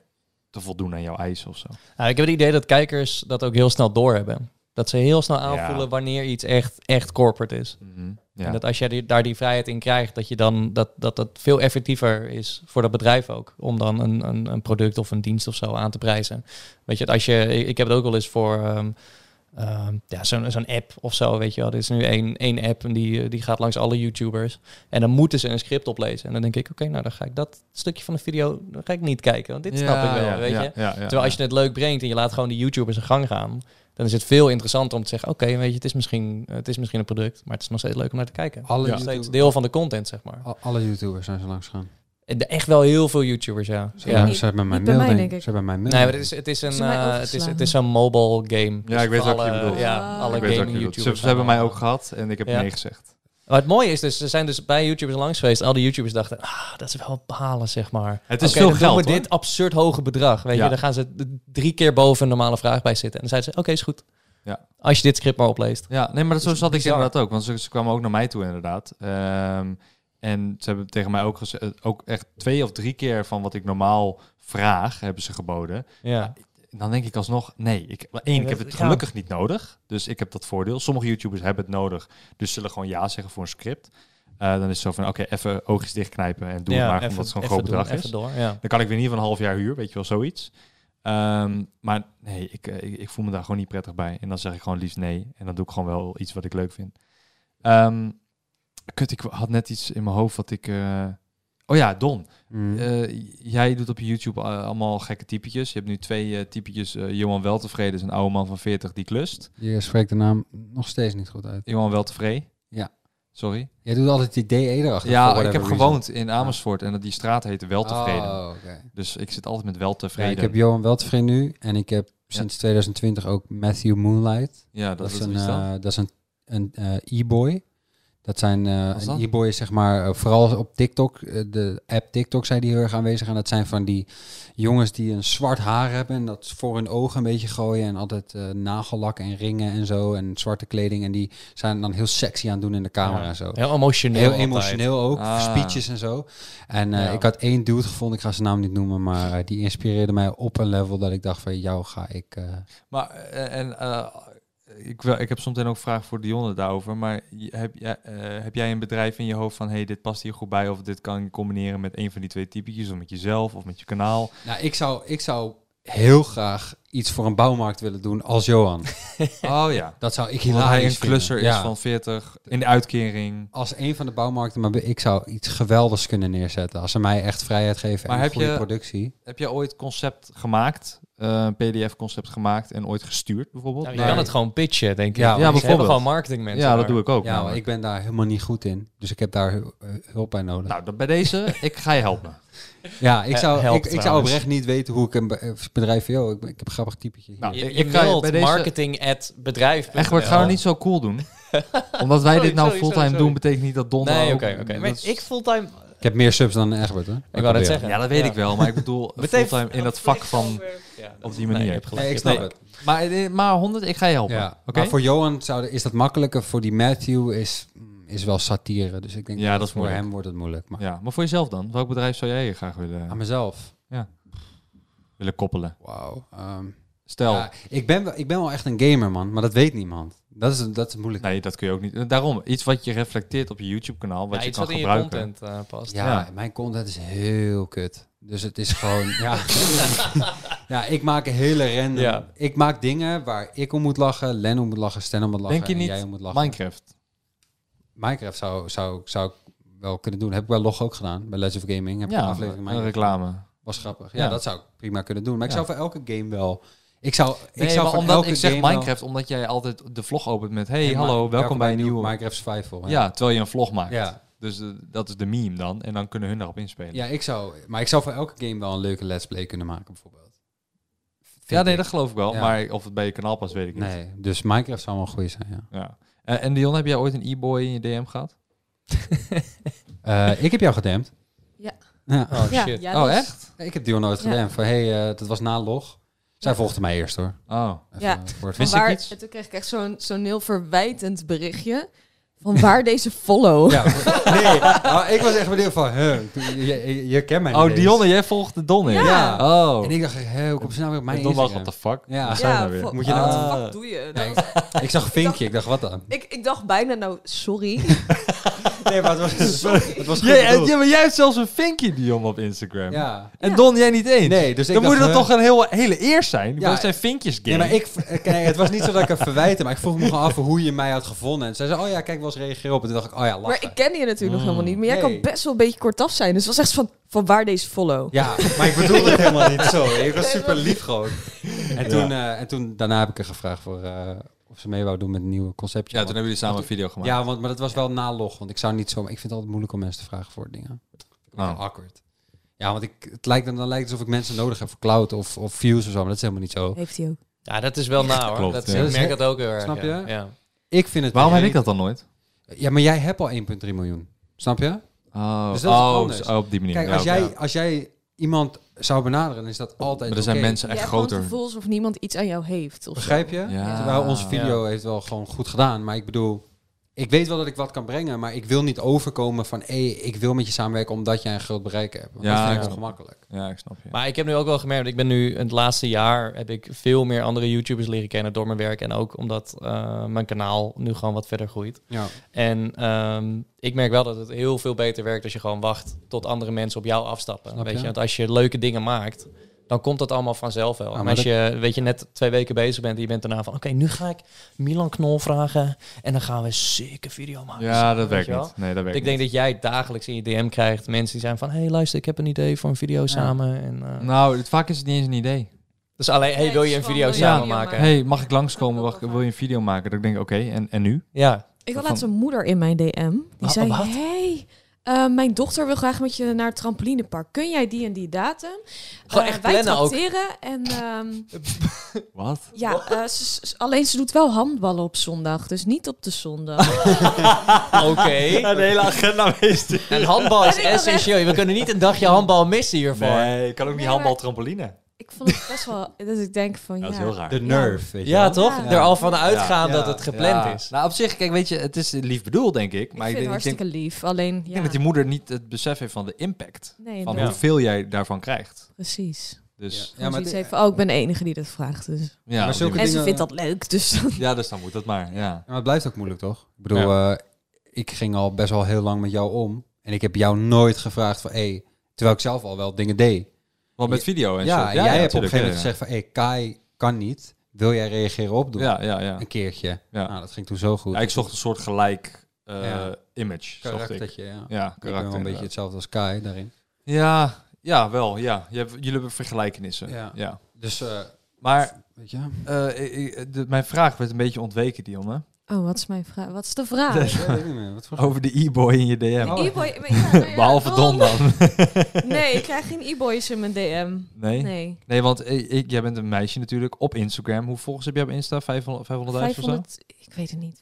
te voldoen aan jouw eisen of zo.
Nou, ik heb het idee dat kijkers dat ook heel snel doorhebben. Dat ze heel snel aanvoelen
Ja.
wanneer iets echt, echt corporate is.
Mhm, ja.
En dat als jij die- daar die vrijheid in krijgt, dat je dan dat, dat dat veel effectiever is voor dat bedrijf ook. Om dan een, een, een product of een dienst of zo aan te prijzen. Weet je, als je, ik ik heb het ook wel eens voor ehm, ehm, ja, zo'n zo'n app of zo, weet je wel. Er is nu één, één app en die, eh, die gaat langs alle YouTubers. En dan moeten ze een script oplezen. En dan denk ik, oké, nou dan ga ik dat stukje van de video dan ga ik niet kijken. Want dit snap ik wel, weet je. Terwijl als je het leuk brengt en je laat gewoon de YouTubers zijn gang gaan, dan is het veel interessanter om te zeggen: oké, weet je, het is, misschien, het is misschien een product, maar het is nog steeds leuk om naar te kijken.
Alle,
Ja.
Het is nog steeds
YouTubers,
deel van de content, zeg maar.
al- alle YouTubers zijn zo langs gegaan.
En de- Echt wel heel veel YouTubers, ja.
Ze
ja.
hebben
niet-
ze hebben mijn
niet bij
mail,
mij,
denk
denk ik.
Ze hebben mijn mail.
Nee, maar het is, het is, een,
Ze
eh,
mij
het is,
overgeslagen.
het is zo'n mobile game.
Ja, ik weet
voor
wat je
alle-
bedoelt.
Ja,
Ah.
alle
Ik
weet
gaming
ook niet.
YouTubers.
Ze, ze hebben mij
allemaal.
ook gehad en ik heb
Ja.
nee gezegd.
Maar het mooie is dus, ze zijn dus bij YouTubers langs geweest. En al die YouTubers dachten, ah, dat is wel balen, zeg maar.
Het is
Oké,
veel
dan doen
geld,
we
hoor.
dit absurd hoge bedrag. Weet
Ja.
je, dan gaan ze d- drie keer boven een normale vraag bij zitten. En dan zeiden ze, oké, is goed.
Ja.
Als je dit script maar opleest.
Ja, nee, maar dat zo
Dat is
zat ik
bizar.
inderdaad ook. Want ze, ze kwamen ook naar mij toe inderdaad. Ehm, en ze hebben tegen mij ook, geze- eh, ook echt twee of drie keer van wat ik normaal vraag, hebben ze geboden.
Ja.
En Dan denk ik alsnog, nee. Ik, maar één,
Ja,
ik heb
dat-
het
ja.
gelukkig niet nodig. Dus ik heb dat voordeel. Sommige YouTubers hebben het nodig. Dus zullen gewoon ja zeggen voor een script. Eh, dan is het zo van, oké, even oogjes dichtknijpen en doe
ja,
het maar.
even-
omdat het gewoon
even
groot
door,
bedrag is.
Even door, ja.
Dan kan ik weer in ieder geval een half jaar huur, weet je wel, zoiets. Ehm, maar nee, ik, eh, ik, ik voel me daar gewoon niet prettig bij. En dan zeg ik gewoon liefst nee. En dan doe ik gewoon wel iets wat ik leuk vind. Ehm, kut, ik had net iets in mijn hoofd wat ik... eh, Oh ja, Don.
Mm.
Eh, jij doet op je YouTube eh, allemaal gekke typetjes. Je hebt nu twee eh, typetjes. eh, Johan Weltevreden is een oude man van 40 die klust.
Je spreekt de naam nog steeds niet goed uit.
Johan Weltevreden.
Ja.
Sorry.
Jij doet altijd die DE erachter.
ja,
for
ik heb
whatever reason.
gewoond in Amersfoort. En dat die straat heette Weltevreden.
Oh, oké.
Dus ik zit altijd met
Ja,
Weltevreden.
ik heb Johan Weltevreden nu en ik heb sinds 2020 ook Matthew Moonlight.
Ja, dat,
Dat, is
is
een,
wie is dat?
eh, dat is een, een eh, e-boy. Dat zijn eh,
Wat is
een
dat?
e-boy is zeg maar eh, vooral op TikTok, eh, de app TikTok zijn die heel erg aanwezig en dat zijn van die jongens die een zwart haar hebben en dat voor hun ogen een beetje gooien en altijd eh, nagellak en ringen en zo en zwarte kleding en die zijn dan heel sexy aan het doen in de camera
Ja.
en zo.
Heel emotioneel.
Heel
altijd.
emotioneel ook,
Ah.
speeches en zo. En eh,
Ja.
ik had één dude gevonden, ik ga zijn naam niet noemen, maar eh, die inspireerde mij op een level dat ik dacht van jou ga ik. eh,
Maar eh, en eh, ik, wel, ik heb soms ook vragen voor Dionne daarover. Maar je- heb, jij- eh, heb jij een bedrijf in je hoofd van hey, dit past hier goed bij? Of dit kan je combineren met een van die twee typetjes, of met jezelf of met je kanaal?
Nou, ik zou, ik zou heel graag iets voor een bouwmarkt willen doen als Johan.
Oh ja.
Dat zou ik
Omdat hij
hilarisch
een klusser
vinden.
is
Ja.
van 40 in de uitkering.
Als een van de bouwmarkten, maar ik zou iets geweldigs kunnen neerzetten. Als ze mij echt vrijheid geven
Maar
en een
heb
goede
je-
productie.
Heb jij ooit concept gemaakt, eh, een PDF-concept gemaakt en ooit gestuurd bijvoorbeeld?
Nou, je
Naar-
kan het gewoon pitchen, denk ik.
Ja,
Ze hebben
bijvoorbeeld.
gewoon marketingmensen.
ja, dat
daar.
doe ik ook.
ja, maar
namelijk.
Nou, ik ben daar helemaal niet goed in. Dus ik heb daar hu- eh, hulp bij nodig.
Nou, dan bij deze, ik ga je helpen.
ja, ik
eh,
zou,
helpt
ik, ik zou
trouwens.
oprecht niet weten hoe ik een be- eh, bedrijf... Yo, ik, ben- ik heb een grappig typetje hier.
Nou,
Je,
ik-
je
ik ga je
mailt
bij deze-
marketing at bedrijf.
Egbert, ga er niet zo cool doen. Omdat wij
Sorry,
dit nou
sorry,
fulltime
sorry, sorry.
doen, betekent niet dat Don...
Nee, oké,
ook-
oké.
dat
Maar
is-
ik fulltime...
ik heb meer subs dan Egbert, hè?
Ik wou dat zeggen.
Ja, dat weet ik wel. Maar ik bedoel,
Meteen-
fulltime in dat vak van... Op die manier.
Nee, je hebt gelijk.
Nee, ik
Je hebt
snap
gelijk.
het.
Maar, eh, maar 100, ik ga je helpen.
Ja.
Oké?
Maar voor Johan zou, is dat makkelijker. Voor die Matthew is, is wel satire. Dus ik denk
Ja, dat is
voor
moeilijk.
hem wordt het moeilijk. Maar
Ja, maar voor jezelf dan? Welk bedrijf zou jij je graag willen,
aan mezelf.
willen koppelen?
Wauw. ehm,
Stel,
ja, ik, ben, wel- ik ben wel echt een gamer, man. Maar dat weet niemand. Dat is, dat is moeilijk.
nee, dat kun je ook niet. Eh, Daarom, iets wat je reflecteert op je YouTube-kanaal, wat
Ja,
je
iets
kan
wat in je
gebruiken.
content eh, past.
Ja,
Ja.
mijn content is heel kut. Dus het is gewoon, ja. ja, ik maak hele random.
Ja.
Ik maak dingen waar ik om moet lachen, Len om moet lachen, Stan om moet lachen
Denk je
en
niet
jij om moet lachen.
Minecraft.
Minecraft zou, zou, zou ik wel kunnen doen. Heb ik wel log ook gedaan bij Let's of Gaming. Heb ik
Ja,
een aflevering
een
Minecraft.
reclame.
Was grappig. Ja,
Ja.
dat zou ik prima kunnen doen. Maar ik
Ja.
zou voor elke game wel... Ik zou, ik
Nee,
zou
maar
voor
omdat
elke
ik zeg
game wel-
Minecraft, omdat jij altijd de vlog opent met... Hey,
En Ma-
hallo, welkom bij een nieuwe...
Minecraft Survival. hè.
Ja, terwijl je een vlog maakt.
Ja.
Dus eh, dat is de meme dan. En dan kunnen hun daarop inspelen.
ja, ik zou... Maar ik zou voor elke game wel een leuke let's play kunnen maken, bijvoorbeeld.
Ja,
Vind
nee,
ik.
dat geloof ik wel.
Ja.
Maar of het bij je kanaal past, weet ik niet.
Nee, dus Minecraft zou wel een goede zijn, ja.
Ja. Eh, en Dion, heb jij ooit een e-boy in je DM gehad?
Eh, ik heb jou gedempt.
Ja.
ja.
Oh
Ja,
shit.
ja, dus
oh,
dat is-
echt?
Ik heb Dion nooit
Ja.
gedempt. Van, hey, eh, dat was na log. Zij
Ja.
volgde mij eerst, hoor.
Oh.
Even eh,
Ja.
voor het-
Van
Wist ik
waar-
iets?
en Toen kreeg ik echt zo'n zo'n heel verwijtend berichtje. Van waar deze follow?
Ja, nee, nou, ik was echt benieuwd van, huh, je, je, je kent mij niet
Oh,
eens.
Dionne, jij volgde Don in.
Ja.
Oh.
En ik dacht, hé, hoe komt ze nou weer op mijn
En Don was,
Instagram?
what the fuck?
Ja.
Wat zijn we nou
vo-
weer?
Moet je nou-
wat de fuck doe je? Dat
Nee,
was-
Ik zag een vinkje, ik dacht, wat dan?
ik, ik dacht bijna, nou, sorry.
Nee, maar het was, het was
Jij- eh, ja, maar jij hebt zelfs een vinkje, Dion, op Instagram.
Ja.
En Don, jij niet eens.
Nee, dus ik
dan moet
dacht,
dat
huh?
toch een heel, hele eer zijn?
Ja.
Dat zijn vinkjes game.
Nee, maar ik, nee, het was niet zo dat ik het verwijten, maar ik vroeg me gewoon af hoe je mij had gevonden. En zij zei, oh ja, kijk, wel eens reageer op. En toen dacht ik, oh ja, lachen.
Maar ik kende je natuurlijk nog
Mm.
helemaal niet. Maar jij
Nee.
kan best wel een beetje kortaf zijn. Dus het was echt van, van waar deze follow?
Ja, maar ik bedoel het helemaal niet zo. Ik was super lief gewoon. En toen, eh, en toen daarna heb ik haar gevraagd voor, eh, of ze mee wou doen met een nieuw conceptje.
Ja, toen
Want-
hebben jullie samen een video gemaakt.
ja want, maar dat was wel na log, want ik zou niet zo... Ik vind het altijd moeilijk om mensen te vragen voor dingen.
Nou.
Awkward. Ja, want ik, het lijkt, dan dan lijkt het alsof ik mensen nodig heb voor cloud of, of views of zo, maar dat is helemaal niet zo.
Heeft hij ook.
Ja, dat is wel na hoor.
Klopt,
dat,
ja.
Ik
Dat is
merk
heel-
dat ook heel erg.
Snap
ja.
je?
Ja.
Ik vind het...
Waarom heb ik dat dan nooit?
Ja, maar jij hebt al 1,3 miljoen. Snap je?
Oh,
Dus dat is
oh,
anders.
zo- oh, op die manier.
Kijk,
Ja,
als
oké.
jij, als jij iemand zou benaderen, dan is dat altijd
Maar er zijn
oké.
mensen
Jij
echt
hebt gewoon
groter.
het gevoel alsof niemand iets aan jou heeft. Of zo.
Begrijp je?
Ah, Ja.
Terwijl onze video heeft wel gewoon goed gedaan. Maar ik bedoel, ik weet wel dat ik wat kan brengen. Maar ik wil niet overkomen van... hé, ik wil met je samenwerken omdat jij een groot bereik hebt. Want
Ja,
dat vind ik
ja.
ongemakkelijk.
Ja, ik snap je.
Maar ik heb nu ook wel gemerkt, ik ben nu het laatste jaar heb ik veel meer andere YouTubers leren kennen door mijn werk. En ook omdat eh, mijn kanaal nu gewoon wat verder groeit.
Ja.
En ehm, ik merk wel dat het heel veel beter werkt als je gewoon wacht tot andere mensen op jou afstappen.
Snap
weet
je?
je? Want als je leuke dingen maakt, dan komt dat allemaal vanzelf wel.
Nou,
maar
en als
dat-
je, weet je, net twee weken bezig bent en je bent daarna van... Oké, nu ga ik Milan Knol vragen en dan gaan we een zieke video maken.
ja, dat
Weet
werkt
je wel?
niet. Nee, dat werkt
Ik denk dat jij dagelijks in je DM krijgt mensen die zijn van... Hé, hey, luister, ik heb een idee voor een video samen. En, eh,
niet. Nou, het, vaak is het niet eens een idee.
Dus alleen, hey,
Nee,
wil
het
je
is
een
gewoon
video
wil je
samen
een video
maken?
maken.
hey, mag ik langskomen? Wacht, wil je een video maken? Dat ik denk, oké, en, en nu?
Ja.
Ik had
Van-
laatst een moeder in mijn DM. Die
Ah,
Wa-
zei,
wat?
hey, eh, mijn dochter wil graag met je naar het trampolinepark. Kun jij die en die datum?
Gewoon
Eh,
echt
wij
plannen ook.
tracteren En ehm,
Wat?
ja, eh, ze- ze- alleen ze doet wel handballen op zondag. Dus niet op de zondag.
Oké.
de hele agenda meest.
En handbal is
En ik dacht
essentieel. We kunnen niet een dagje handbal missen hiervoor.
ik kan ook
niet handbal
Nou,
trampoline.
ik vond het best wel... Dat ik denk van, ja.
raar.
De nerve, weet je
Ja,
wel.
toch?
Ja.
Er al van uitgaan
Ja.
dat het gepland
Ja.
is.
Nou, op zich, kijk, weet je, het is lief bedoeld, denk ik. Maar
ik
ik,
vind het
denk, ik denk-
hartstikke lief. Alleen,
ik
ja.
denk dat je moeder niet het besef heeft van de impact.
Nee,
Van
dat-
Ja.
hoeveel jij daarvan krijgt.
precies.
Dus
Ja, maar
het-
even, oh, ik ben de enige die dat vraagt. Dus.
ja,
maar
op die
zulke
manier.
En ze
dingen-
vindt dat leuk, dus dan-
ja, dus dan moet dat maar. Ja.
maar het blijft ook moeilijk, toch? Ik bedoel, eh, ik ging al best wel heel lang met jou om. En ik heb jou nooit gevraagd van... hé, terwijl ik zelf al wel dingen deed.
Want met video en
ja,
zo.
en jij hebt op
tuurlijk,
een gegeven
ja,
moment
ja.
gezegd van... hé, Kai, kan niet. Wil jij reageren op doen?
Ja, ja, ja.
Een keertje.
Ja.
Nou, dat ging toen zo goed.
Ja, ik zocht een soort gelijk eh,
Ja.
image. Zocht ik.
karaktertje, ja.
Ja,
Ik ben wel
karakter.
een beetje
inderdaad.
hetzelfde als Kai daarin.
Ja, ja, wel. Ja. Je hebt, jullie hebben vergelijkenissen.
Ja.
Ja.
Dus,
Maar
weet je...
eh, ik- ik- de- mijn vraag werd een beetje ontweken, Dion. Hè?
Oh, wat is mijn vraag? Wat is de vraag?
Ik weet het niet meer. Wat voor
Over de e-boy in je DM.
Oh.
E-boy, maar ja, nou ja,
Behalve Don
waarom?
dan.
Nee, ik krijg geen e-boys in mijn DM.
Nee? nee.
Nee.
want eh, ik, jij bent een meisje natuurlijk op Instagram. Hoe volgers heb jij op Insta? 500 500.000 of zo?
500, ik weet het niet,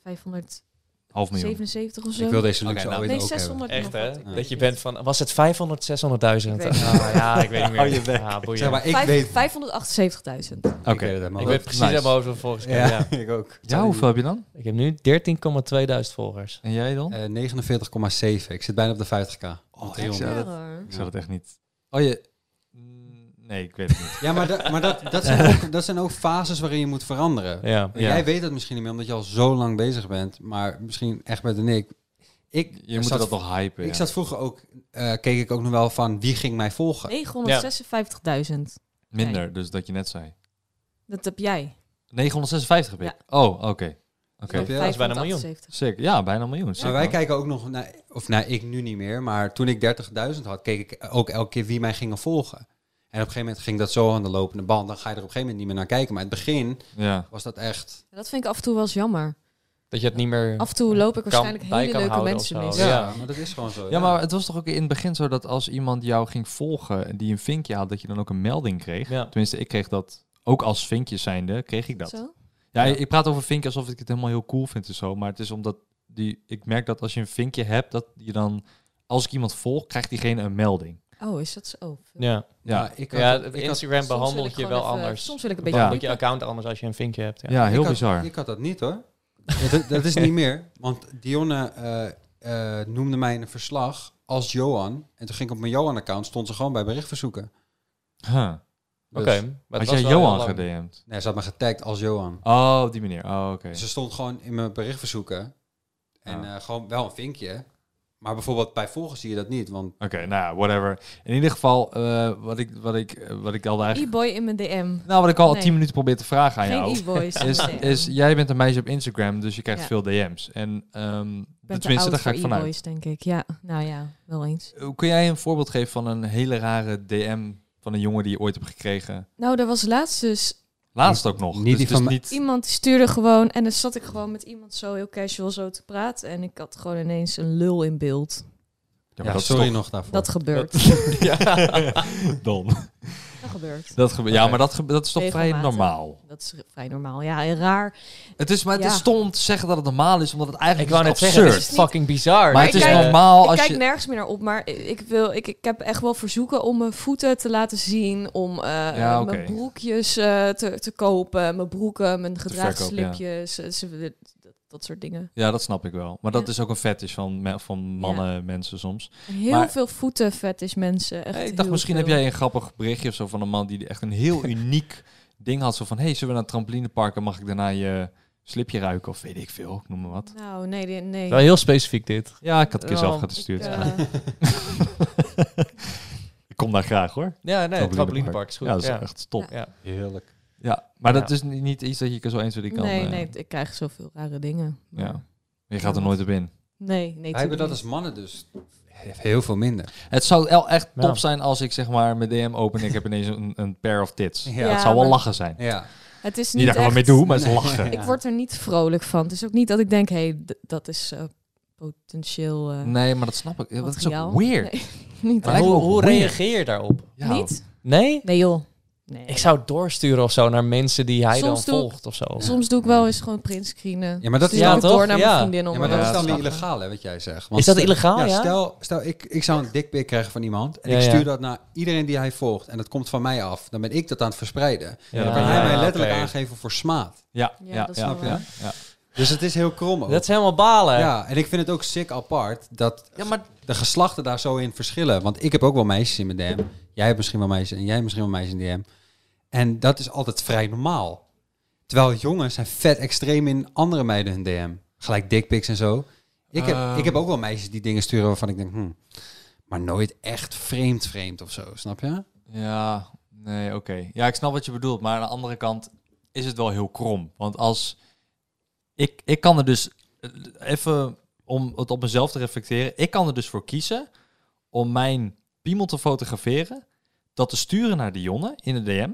Half miljoen.
577 of zo.
Ik wil deze luxe
Oké, nou.
ooit
nee,
ook
600.
Echt
nog
hè?
wat, ik weet
Dat je
niet.
bent van, was het 500, 600.000?
Ik weet
Ah, ja, ik weet niet meer.
Hou je bek.
Ah, boeien.
hebben. Zeg maar, ik
Vijf-
weet...
578.000.
Oké.
Ik
ik
weet het helemaal
weet
niet.
precies
Nice.
helemaal hoeveel volgers ik heb,
Ja, ik ook.
Ja, hoeveel heb je dan?
Ik heb nu 13,2 volgers.
En jij dan?
Eh, 49,7. Ik zit bijna op de 50k. Oh,
ik zou dat-
hoor.
Ik zou dat echt niet. Oh, je... Mm, Nee, ik weet het niet.
Ja, maar, da- maar dat, dat, zijn ook, dat zijn ook fases waarin je moet veranderen.
Ja.
En Jij weet dat misschien niet meer, omdat je al zo lang bezig bent. Maar misschien echt met de ik. Ik,
Je moet
zat,
dat nog hypen.
Ik
ja.
zat vroeger ook, eh, keek ik ook nog wel van wie ging mij volgen.
956.000.
Minder, dus dat je net zei.
Dat heb jij.
956 heb ik. Oh, oké. Oké.
Snap je?
is bijna een miljoen.
578.
Sick. Ja, bijna een miljoen.
Maar
Sick,
wij
man.
kijken ook nog naar, of nou, ik nu niet meer, maar toen ik 30.000 had, keek ik ook elke keer wie mij gingen volgen. En op een gegeven moment ging dat zo aan de lopende band. Dan ga je er op een gegeven moment niet meer naar kijken. Maar in het begin
Ja.
was dat echt.
Dat vind ik af en toe wel eens jammer.
Dat je het niet meer...
Af en toe loop ik
Kan-
waarschijnlijk
bij
hele
kan
leuke
houden
mensen
of zo.
mis.
Ja.
maar dat is gewoon zo.
ja, maar het was toch ook in het begin zo dat als iemand jou ging volgen en die een vinkje had, dat je dan ook een melding kreeg.
Ja.
Tenminste, ik kreeg dat ook als vinkjes zijnde, kreeg ik dat.
Zo?
Ja,
Ja.
ik praat over vinkje alsof ik het helemaal heel cool vind en zo. Maar het is omdat die, ik merk dat als je een vinkje hebt, dat je dan, als ik iemand volg, krijgt diegene een melding.
Oh, is dat zo? Oh,
Ja,
Ja,
Nou, ik had-
ja
ik had-
Instagram
Soms wil
behandelt je
ik gewoon
wel
even-
anders.
Soms wil ik een beetje
Ja.
Behandelt je
dieper.
account anders als je een vinkje hebt. Ja.
Ja, heel
ik had-
bizar.
Ik had dat niet hoor. dat, dat is niet meer. Want Dionne eh, eh, noemde mij in een verslag als Johan. En toen ging ik op mijn Johan-account, stond ze gewoon bij berichtverzoeken.
Huh.
Dus-
Oké. maar het
Had jij
was wel heel
Johan
lang.
gedm'd?
Nee, ze had me getagd als Johan.
Oh, op die manier. Oh, oké.
Dus-
Ze stond gewoon in mijn berichtverzoeken. En
Ja.
eh, gewoon wel een vinkje. Maar bijvoorbeeld bij volgers zie je dat niet. Want
Oké, nou ja, whatever. In ieder geval, eh, wat, ik, wat, ik, eh, wat ik al eigenlijk...
E-boy in mijn DM.
Nou, wat ik al
Nee.
10 minuten probeer te vragen aan
Geen
jou.
e-boys. in
Is,
mijn DM.
is, jij bent een meisje op Instagram, dus je krijgt
Ja.
veel DM's. En ehm
Ik ben te
tenminste,
oud
daar ga ik
voor
vanuit.
e-boys, denk ik. Ja, nou ja, wel eens.
Hoe Kun jij een voorbeeld geven van een hele rare DM van een jongen die je ooit hebt gekregen?
Nou, er was laatst dus
Laatst ook nog.
Niet
Dus
die
het is
van-
niet...
Iemand die stuurde gewoon en dan zat ik gewoon met iemand zo heel casual zo te praten en ik had gewoon ineens een lul in beeld.
Ja, maar
Ja,
dat is
sorry
toch-
nog daarvoor.
Dat gebeurt.
ja, Don.
Dat gebeurt.
Dat gebe- ja, maar dat, gebe- dat is toch vrij
Regelmatig.
normaal?
Dat is vrij normaal. Ja, en raar.
Het is, maar het is
Ja.
stom te zeggen dat het normaal is, omdat het
Ik
eigenlijk
wou
is
net
absurd.
zeggen, het is
Het is niet-
fucking bizar. eh,
maar
Maar
het is
kijk-
normaal
ik
als
kijk
je...
nergens meer naar op, maar ik, wil, ik, ik heb echt wel verzoeken om mijn voeten te laten zien, om eh,
Ja,
mijn
oké.
broekjes eh, te, te kopen, mijn broeken, mijn gedragen
verkopen, ja.
slipjes, eh, ze- dat, dat soort dingen.
Ja, dat snap ik wel. Maar dat
Ja.
is ook een fetish van, me- van mannen, mensen soms.
Heel
Maar-
veel voeten vet is mensen. Echt
Hey, ik dacht,
heel
misschien heb
veel.
jij een grappig berichtje of zo van een man die echt een heel uniek ding had. Zo van, hey, zullen we naar het trampolinepark en mag ik daarna je slipje ruiken? Of weet ik veel, ik noem maar wat.
Nou, nee, nee, nee.
Wel heel specifiek dit.
Ja, ik had het een keer zelf
Ja,
gestuurd. dus
Ik,
Ik,
eh,
kom daar graag hoor.
Ja, nee,
Trampolinepark.
het trampolinepark is goed.
Ja, dat is
Ja.
echt top.
Ja.
Ja,
Heerlijk.
maar
Ja.
dat is ni- niet iets dat je zo eens weer die kan...
nee,
eh,
nee, ik krijg zoveel rare dingen. maar-
Ja. Je gaat er nooit op in.
Nee,
Wij
nee.
hebben
tuurlijk
dat als mannen dus heel veel minder.
Het zou wel echt
Ja.
top zijn als ik zeg maar mijn DM open en ik heb ineens een, een pair of tits.
Ja.
dat zou wel
maar-
lachen zijn.
Ja.
niet. Het is
Niet
niet
dat ik er
echt,
wat mee doe, maar het is lachen.
Ik word er niet vrolijk van. Het is ook niet dat ik denk, hé, hey, d- dat is eh, potentieel eh
Nee, maar dat snap ik. Dat is
materiaal.
ook weird.
Nee, niet.
Maar- Lijkt me
hoe
ook
hoe
weird.
reageer je daarop?
Ja.
Niet?
Nee?
Nee, joh. Nee.
Ik zou het doorsturen of zo naar mensen die hij
Soms
dan
doe ik-
volgt of zo.
Soms doe ik wel eens gewoon print screenen.
Ja, maar dat is
Stuur
Ja,
ik
toch?
door naar
Ja.
mijn vriendin om
Ja, maar
haar
dat
Ja,
is
te
dan weer
lachen.
illegaal, hè, wat jij zegt.
Is dat
stel-
illegaal, ja?
Stel, stel ik, ik zou een dikpik krijgen van iemand en
Ja,
ik
ja.
stuur dat naar iedereen die hij volgt en dat komt van mij af. Dan ben ik dat aan het verspreiden.
Ja,
Dan kan hij
ja,
mij
ja,
letterlijk
oké.
aangeven voor smaad.
Ja,
Ja,
ja,
dat
ja,
is
ja,
wel waar.
ja.
Dus het is heel krom ook.
Dat is helemaal balen.
ja, en ik vind het ook sick apart dat
Eh, Ja, maar
de geslachten daar zo in verschillen. Want ik heb ook wel meisjes in mijn DM. Jij hebt misschien wel meisjes en jij hebt misschien wel meisjes in DM. En dat is altijd vrij normaal. Terwijl jongens zijn vet extreem in andere meiden hun DM. Gelijk dickpics en zo. Ik heb,
Ehm.
ik heb ook wel meisjes die dingen sturen waarvan ik denk... Hm, maar nooit echt vreemd vreemd of zo, snap je?
ja, nee, oké. Ja, ik snap wat je bedoelt, maar aan de andere kant, is het wel heel krom. Want als ik, ik kan er dus eh, even om het op mezelf te reflecteren, ik kan er dus voor kiezen om mijn piemel te fotograferen, dat te sturen naar Dionne in de DM.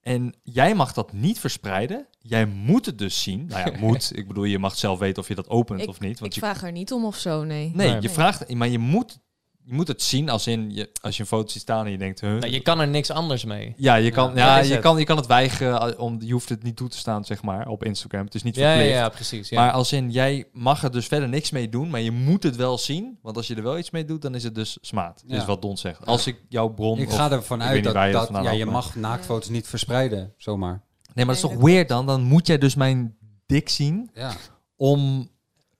En jij mag dat niet verspreiden. Jij moet het dus zien. Nou ja, moet. Ik bedoel, je mag zelf weten of je dat opent
Ik-
of niet. Want
ik
je
vraag er niet om of zo, nee.
Nee,
Nee.
je vraagt, maar je moet, je moet het zien als in je, als je een foto ziet staan en je denkt, huh?
Nou, je kan er niks anders mee.
ja, je kan,
Ja,
ja,
dat is
je
het.
kan, je kan het weigeren, eh, om, je hoeft het niet toe te staan, zeg maar, op Instagram. Het is niet
Ja, ja,
verplicht.
ja, precies. Ja.
Maar als in, jij mag er dus verder niks mee doen, maar je moet het wel zien, want als je er wel iets mee doet, dan is het dus smaad.
Ja.
Is wat Don zegt. Als ik jouw bron,
Ik
of-
ga ervan
ik weet
uit
niet
dat,
waar
dat,
vandaan
ja,
haalt,
je
maar-
mag naaktfoto's niet verspreiden, zomaar.
Nee, maar dat is
Nee,
toch
dat
weer dan? Dan moet jij dus mijn dik zien
Ja.
om,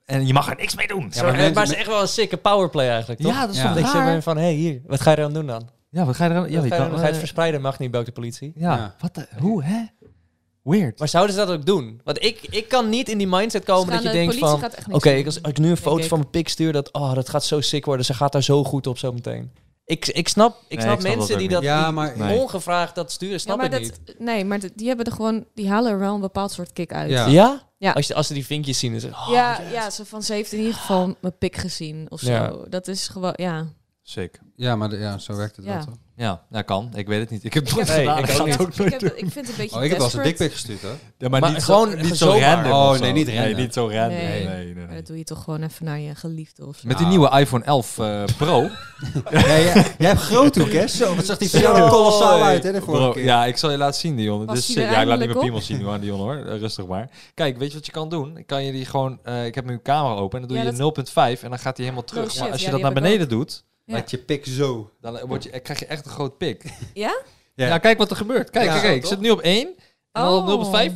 en je mag er niks mee doen.
Ja, maar,
mensen-
maar het is echt wel een sikke powerplay eigenlijk, toch?
Ja, dat is
Ja.
toch
Ik zeg maar
raar?
van, hé, hey, hier, wat ga je dan doen dan?
Ja, wat ga je er aan? Ja,
Ja,
je
ga je,
kan,
dan ga je het
eh,
verspreiden, mag niet bij de politie.
Ja,
Ja.
wat de, hoe, hè? Weird.
Maar zouden ze dat ook doen? Want ik, ik kan niet in die mindset
Ze
komen
gaan
dat je
de
denkt
politie
van...
gaat echt
Oké,
niks doen.
ik- als ik nu een foto
ik.
van mijn pik stuur, dat, oh, dat gaat zo sick worden. Ze gaat daar zo goed op zo meteen. Ik, ik snap, ik
Nee, ik
snap
snap dat
mensen
ook
die
niet.
dat
Ja,
die
maar-
Nee.
ongevraagd dat sturen, snap
maar
ik
dat,
niet.
Nee, maar dat- die hebben er gewoon, die halen er wel een bepaald soort kick uit.
Ja.
Ja?
Ja.
Als, je, als ze die vinkjes zien, dan zeg je, oh,
ja,
yes.
ja, zo van ze heeft in ieder geval mijn pik gezien of zo.
Ja.
Dat is gewoon, ja.
Sick.
Ja, maar de- ja, zo werkt het
Ja.
wel toch?
Ja, dat kan. Ik weet het niet. Ik heb het nooit
Nee,
gedaan.
ik
Ik
ook
ga
niet.
het ook
ik,
nooit
heb,
doen.
ik vind het een beetje
Oh, ik heb wel eens een
desperate,
dikpik gestuurd, hoor.
Ja,
Maar
niet
gewoon-
zo, niet zo
zomaar.
random.
Oh,
of zo.
nee, niet
Nee,
random.
niet zo random. Nee,
Nee.
nee, nee.
maar Dat doe je toch gewoon even naar je geliefde of zo.
Met die nieuwe iPhone 11 eh, Pro.
Ja, ja. Jij hebt groot hoek, hè? Zo, wat zag die video
Zo.
er kolossaal uit, hè, de vorige
Bro,
keer.
ja, ik zal je laten zien, Dion.
Was
Dus,
die
eh,
er
ja, ik laat niet
eindelijk
mijn
op?
piemel zien nu aan Dion, hoor. Eh, Rustig maar. Kijk, weet je wat je kan doen? Ik Kan je die gewoon... eh, ik heb nu een camera open en dan
Ja,
doe je 0.5 en dan gaat die helemaal terug.
shit,
maar als je
ja,
dat
die
naar
heb ik
beneden doet,
Ja.
Met je pik zo.
dan eh, word je, eh, krijg je echt een groot pik.
Ja?
Ja,
Ja.
kijk wat er gebeurt. Kijk,
Ja,
kijk, kijk. Ik
toch?
zit nu op 1 en dan op 0.5.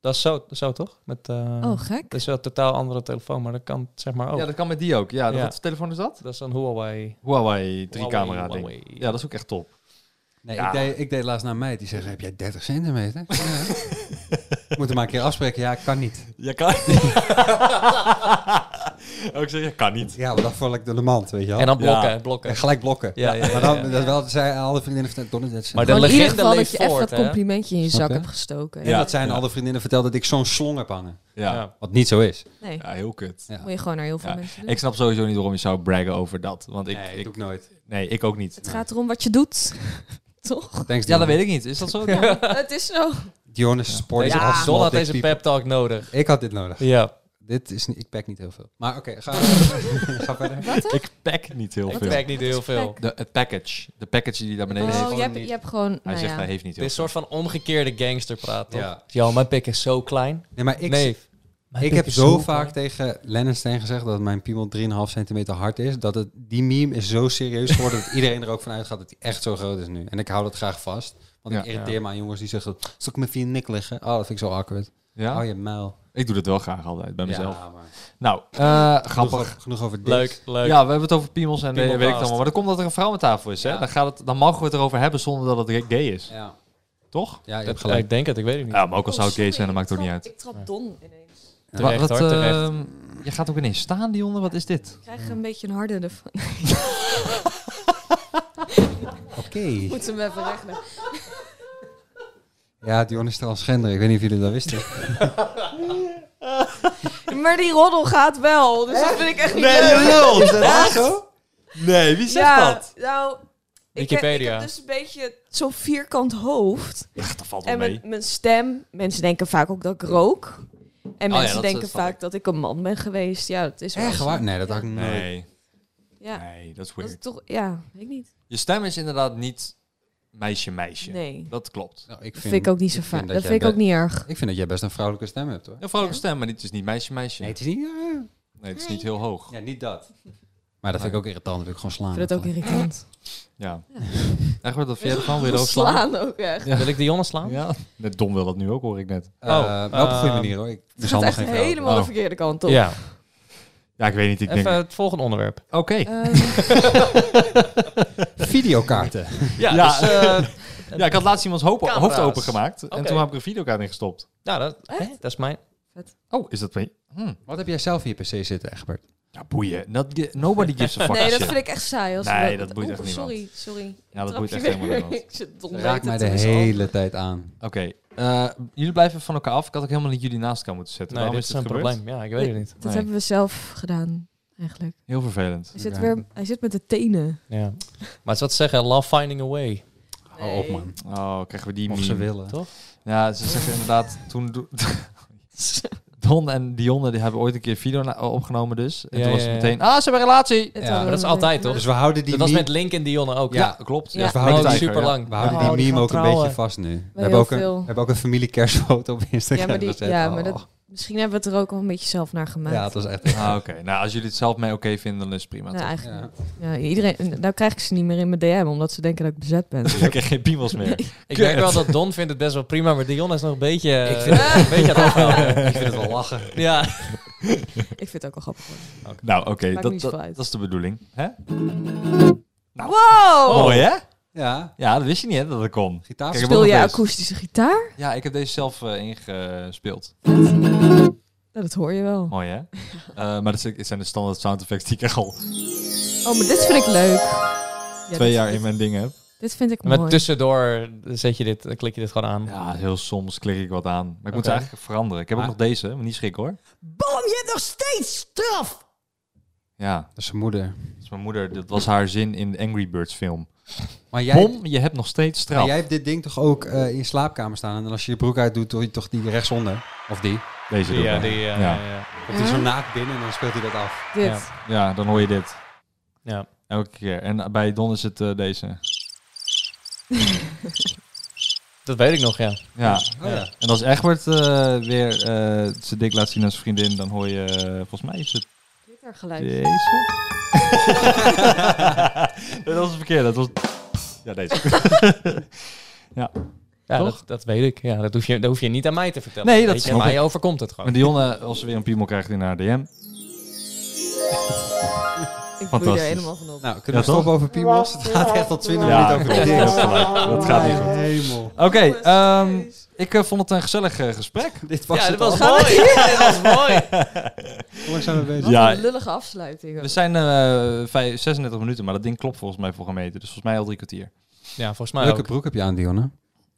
Dat is zo, zo toch? Met, eh,
Oh, gek.
dat is wel een totaal andere telefoon, maar dat kan zeg maar ook.
Ja, dat kan met die ook. Oh. Ja,
Ja.
wat voor telefoon is dat?
Dat is een Huawei.
Huawei 3
Huawei,
camera ding.
Huawei.
Ja, dat is ook echt top.
Nee,
Ja.
ik, deed, ik deed laatst naar mij. Die zegt, heb jij 30 centimeter? Ja. We Moeten maar een keer afspreken. Ja, ik kan niet.
Ja, kan. ook zeg je kan niet.
Ja, maar dat vond ik de mand, weet je wel.
En dan
Ja.
blokken,
En
blokken.
gelijk blokken.
Ja, ja, ja,
Maar dan,
ja.
dat wel, zei alle vriendinnen van Donald dat
Maar
maar
de
Gewoon in ieder
legende
geval dat
leeft
je echt
voort,
dat
hè?
complimentje in je
Snap
zak
je?
hebt gestoken.
Ja.
dat zijn alle vriendinnen verteld dat ik zo'n slong heb hangen.
Ja.
Ja.
Wat niet zo is.
Nee,
Ja, heel kut.
Ja.
moet je gewoon naar heel veel
Ja.
mensen doen.
Ik snap sowieso niet waarom je zou braggen over dat. Want ik,
nee,
ik,
doe ik nooit.
nee, ik ook niet.
Het gaat erom wat je doet. Toch?
Thanks,
Ja, dat
Dion.
weet ik niet. Is dat zo?
het is zo.
Dion is sport.
Deze,
is all small
Don had
dick
deze
people.
pep talk nodig.
Ik had dit nodig.
Ja.
Dit is niet, ik pack niet heel veel. Maar oké, ga, ga verder.
ik pack niet heel
Ik
veel.
merk niet heel veel.
De, het package. De package die hij daar beneden
oh,
heeft.
je hebt, je hebt gewoon...
Hij
nou
zegt
ja.
hij heeft niet
Dit
heel
is een soort van omgekeerde gangsterpraat, toch?
Ja.
Yo, mijn pik is zo klein.
Nee, maar ik,
nee. Mijn
ik
pik
heb
is
zo
klein.
vaak tegen Lennon Steen gezegd dat mijn piemel 3,5 centimeter hard is. Dat het, die meme is zo serieus geworden dat iedereen er ook van uitgaat dat die echt zo groot is nu. En ik hou dat graag vast. Want ik
Ja.
irriteer me aan jongens die zeggen, zal ik mijn vier nik liggen? Oh, dat vind ik zo awkward.
Ja?
Oh, je muil.
Ik doe dat wel graag altijd bij mezelf.
Ja, maar
Nou, eh,
genoeg,
grappig.
over- genoeg over dit.
Leuk, leuk.
Ja, we hebben het over piemels en eh,
Piemelbaast.
weet ik het allemaal. Maar dan komt dat er een vrouw aan tafel is. Hè?
Ja.
Dan, gaat het, dan mogen we het erover hebben zonder dat het gay is.
Ja,
Toch?
ja je
Dat-
hebt gelijk.
Ik denk het, ik weet het niet.
Ja, maar ook al
Oh,
zou het gay
sorry,
zijn, dat maakt het ook
ik
niet
trap-
uit.
Ik trap don ineens.
Terecht,
Wat- wat,
hoor, terecht.
ehm, je gaat ook ineens staan, Dionne. Wat is dit?
Ik krijg een beetje een harde ervan. Ik
Oké.
moet hem even rechten.
Ja, Dion is transgender. Ik weet niet of jullie dat wisten.
Maar die roddel gaat wel, dus dat vind ik echt niet leuk.
lul!
Is dat echt zo?
Nee, wie zegt
ja,
dat?
nou... Ik heb, ik
Wikipedia.
heb dus een beetje zo'n vierkant hoofd.
Ach, dat valt wel
En mijn,
mee.
mijn stem. Mensen denken vaak ook dat ik rook. En
Oh ja,
mensen
dat-
denken
dat snap
vaak
ik.
dat ik een man ben geweest. Ja, dat is wel
Echt
zo.
waar? Nee, dat had ik nooit.
Nee,
Ja,
nee, dat is
dat is
weird.
toch... Ja, weet ik niet.
Je stem is inderdaad niet meisje-meisje.
Nee.
Dat klopt.
Nou, ik
Dat vind ik ook niet zo
vind
fijn.
dat
Dat
jij
vind ik ook
bent-
niet erg.
Ik vind dat jij best een vrouwelijke stem hebt, hoor.
Een vrouwelijke stem, maar dit is niet meisje-meisje.
Nee, het is niet...
Nee, het is niet heel hoog.
Ja, niet dat. Maar dat vind ik ook irritant. Dat wil ik gewoon slaan.
Ik vind het
Ah,
ook irritant.
Ja. Echt, wat vind je ervan? Wil je erover slaan?
Slaan ook echt.
Wil ik Dionne slaan?
Ja. Net Don wil dat nu ook, hoor ik net.
Eh,
Oh,
wel op een
eh,
goede manier, hoor. Ik
Ehm, Het gaat
mishandel
echt
geen vrouwen.
helemaal de
Oh.
verkeerde kant op.
Ja.
Ja, ik weet niet. Ik denk...
Even het volgende onderwerp.
Oké.
Ehm,
Oh. Videokaarten.
Ja,
Ja.
dus, eh,
Ja, ik had laatst iemands hoop,
Camera's.
hoofd opengemaakt. En
Oké.
toen heb ik een videokaart ingestopt.
nou, dat, hè, dat is mijn...
Oh, is dat... Hm.
Wat heb jij zelf hier per se zitten, Egbert?
Ja, boeien. Dat, nobody gives a fuck.
Nee,
a
dat
shit.
vind ik echt saai. Als
Nee,
we-
dat boeit
Oeh,
echt niemand.
Sorry, sorry.
Ja, dat
Trap
boeit
je
echt
weer.
helemaal niemand.
Ik zit dom
Raakt mij
mee
de
te doen, zo.
hele tijd aan.
Oké, eh, jullie blijven van elkaar af. Ik had ook helemaal niet jullie naast elkaar moeten zetten.
Nee,
Waarom
dit
is
is
dit
een
gebeurd?
probleem. Ja, ik weet het niet.
Dat
Nee.
hebben we zelf gedaan, eigenlijk.
Heel vervelend.
Hij zit,
Ja.
weer, hij zit met de tenen.
Ja. Maar het is wat ze zeggen, love finding a way.
Hou op, man.
Oh, krijgen we die
Of
meme.
ze willen.
Toch?
Ja, ze zeggen inderdaad, toen... do- Don en Dionne die hebben ooit een keer video na- opgenomen dus. En
Ja,
toen was
ja,
het
ja.
meteen, ah, ze hebben een relatie!
Het
Ja,
hadden
maar
we
dat is
mee.
altijd,
Ja.
toch?
Dus we houden die
Dat was
meme-
met Link en Dionne ook.
Ja, klopt.
Ja.
Ja.
Dus we
Nou,
houden,
Tiger,
die is
die,
super lang.
we houden
Oh,
die
die
meme
gaan
ook een
trouwen.
beetje vast nu. We
heel
hebben, ook een,
veel.
we hebben ook een familiekerstfoto op Instagram
Ja, maar die-
gezet.
ja, maar dat
Oh.
Misschien hebben we het er ook al een beetje zelf naar gemaakt.
ja, het was echt...
Ah, oké. Nou, als jullie het zelf mee oké vinden, dan is het prima.
Nou,
toch?
eigenlijk.
Ja.
Ja, iedereen, nou krijg ik ze niet meer in mijn DM, omdat ze denken dat ik bezet ben.
Dan krijg je Dus geen piemels meer.
Ik
Kut.
merk wel dat Don vindt het best wel prima, maar Dionne is nog een beetje...
Ik vind
eh, een beetje aan het afhelpen.
Ik vind het wel lachen.
Ja.
ik vind het ook al grappig. hoor.
Nou, oké.
Maakt
Dat,
niet zoveel
dat,
uit.
dat is de bedoeling. Hè?
Wow!
Nou, Mooi, hè?
Ja,
Ja, dat wist je niet, hè, dat het kon.
gitaar.
Kijk,
Speel
nog
je
eens.
akoestische gitaar?
Ja, ik heb deze zelf eh, ingespeeld.
Nou, dat hoor je wel.
Mooi, hè? Eh, maar dat zijn- zijn de standaard sound effects die ik echt al
Oh, maar dit vind ik leuk. Ja,
twee
dit-
jaar
dit-
in mijn ding heb.
Dit vind ik
Maar
mooi.
tussendoor zet je dit, eh, klik je dit gewoon aan.
Ja, heel soms klik ik wat aan. Maar ik moet
Oké.
ze eigenlijk veranderen. Ik heb ook
Ah.
nog deze, maar niet schrik hoor.
Boom je nog steeds straf?
Ja,
Dat is zijn moeder.
dat is mijn moeder. Dat was haar zin in de Angry Birds film.
Maar jij,
Bom, je hebt nog steeds
maar
straf.
jij hebt dit ding toch ook eh, in je slaapkamer staan? En dan als je je broek uitdoet, doe je toch die rechtsonder? Of die?
Deze doe ik
Ja,
wel.
die, eh,
ja.
ja, ja.
Komt hij zo naakt binnen en dan speelt hij dat af.
Dit.
ja.
Ja, dan hoor je dit.
Ja.
Elke keer. En bij Don is het eh, deze.
Dat weet ik nog, ja.
Ja.
Oh ja.
En als Egbert eh, weer eh, zijn dik laat zien aan zijn vriendin, dan hoor je, eh, volgens mij is het
Gitaargeluid.
deze. dat was verkeerd. Dat was... Ja, deze.
Ja,
Toch?
dat, dat weet ik. Ja, dat, hoef je, dat hoef je niet aan mij te vertellen.
Nee, dat
weet je.
snap
Maar
ik.
je overkomt het
Maar
gewoon.
Dionne, als ze weer een piemel krijgt in haar DM.
Ik bloei er
Fantastisch.
helemaal van op.
Nou,
Ja,
kunnen we stoppen over piemels? Het gaat echt al 20
Ja,
minuten over
klopt.
dit.
Dat is gelijk. Dat gaat niet goed.
Hemel.
Oké,
Jongens,
ehm,
jeez.
ik eh, vond het een gezellig eh, gesprek.
Dit was het al.
mooi. dat was mooi.
Hoe lang zijn we bezig?
Wat
Ja.
een lullige afsluiting. hoor.
We zijn eh vijf- 36 minuten, maar dat ding klopt volgens mij voor gemeten. Dus volgens mij al drie kwartier.
Ja, volgens mij
Leuke
ook.
broek heb je aan, Dionne.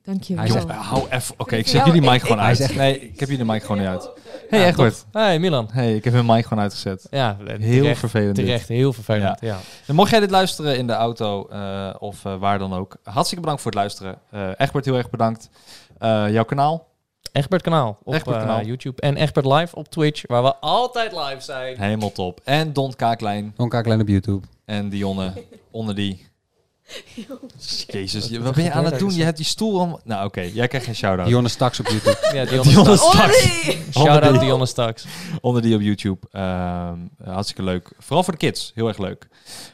Dank je
Hij is
wel.
echt-
Eh, hou even. Oké, ik
voor
zet
jou-
jullie mic
ik-
gewoon
Hij
uit.
is echt-
Nee, ik heb jullie mic gewoon niet
Oh,
uit. Hé,
Ja,
hey, Egbert.
Hey, Milan.
hey, ik heb hun mic gewoon uitgezet.
Ja,
Heel
terecht,
vervelend. dit.
terecht. Heel vervelend, ja.
En mocht jij dit luisteren in de auto eh, of eh, waar dan ook, hartstikke bedankt voor het luisteren. Eh, Egbert, heel erg bedankt. Eh, jouw kanaal?
Egbert Kanaal op
Egbert
eh,
Kanaal.
YouTube. En Egbert Live op Twitch, waar we altijd live zijn.
Helemaal top. En Don Kaaklijn
Donka Klein op YouTube.
en Dionne onder die. Jezus, je- wat ben je aan het doen? Je hebt die stoel om... Nou oké, jij krijgt geen shout-out.
Dionne Staks op YouTube.
Ja, Dionne
Dionne
Staks.
Ollie!
Shout-out Dionne Staks.
onder die op YouTube. Ehm, hartstikke leuk. Vooral voor de kids. Heel erg leuk.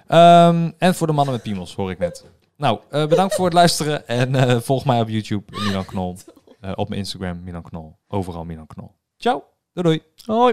Ehm, en voor de mannen met piemels, hoor ik net. Nou, eh, bedankt voor het luisteren. En eh, volg mij op YouTube, Milan Knol. Eh, op mijn Instagram, Milan Knol. Overal Milan Knol. Ciao. Doei doei. Hoi.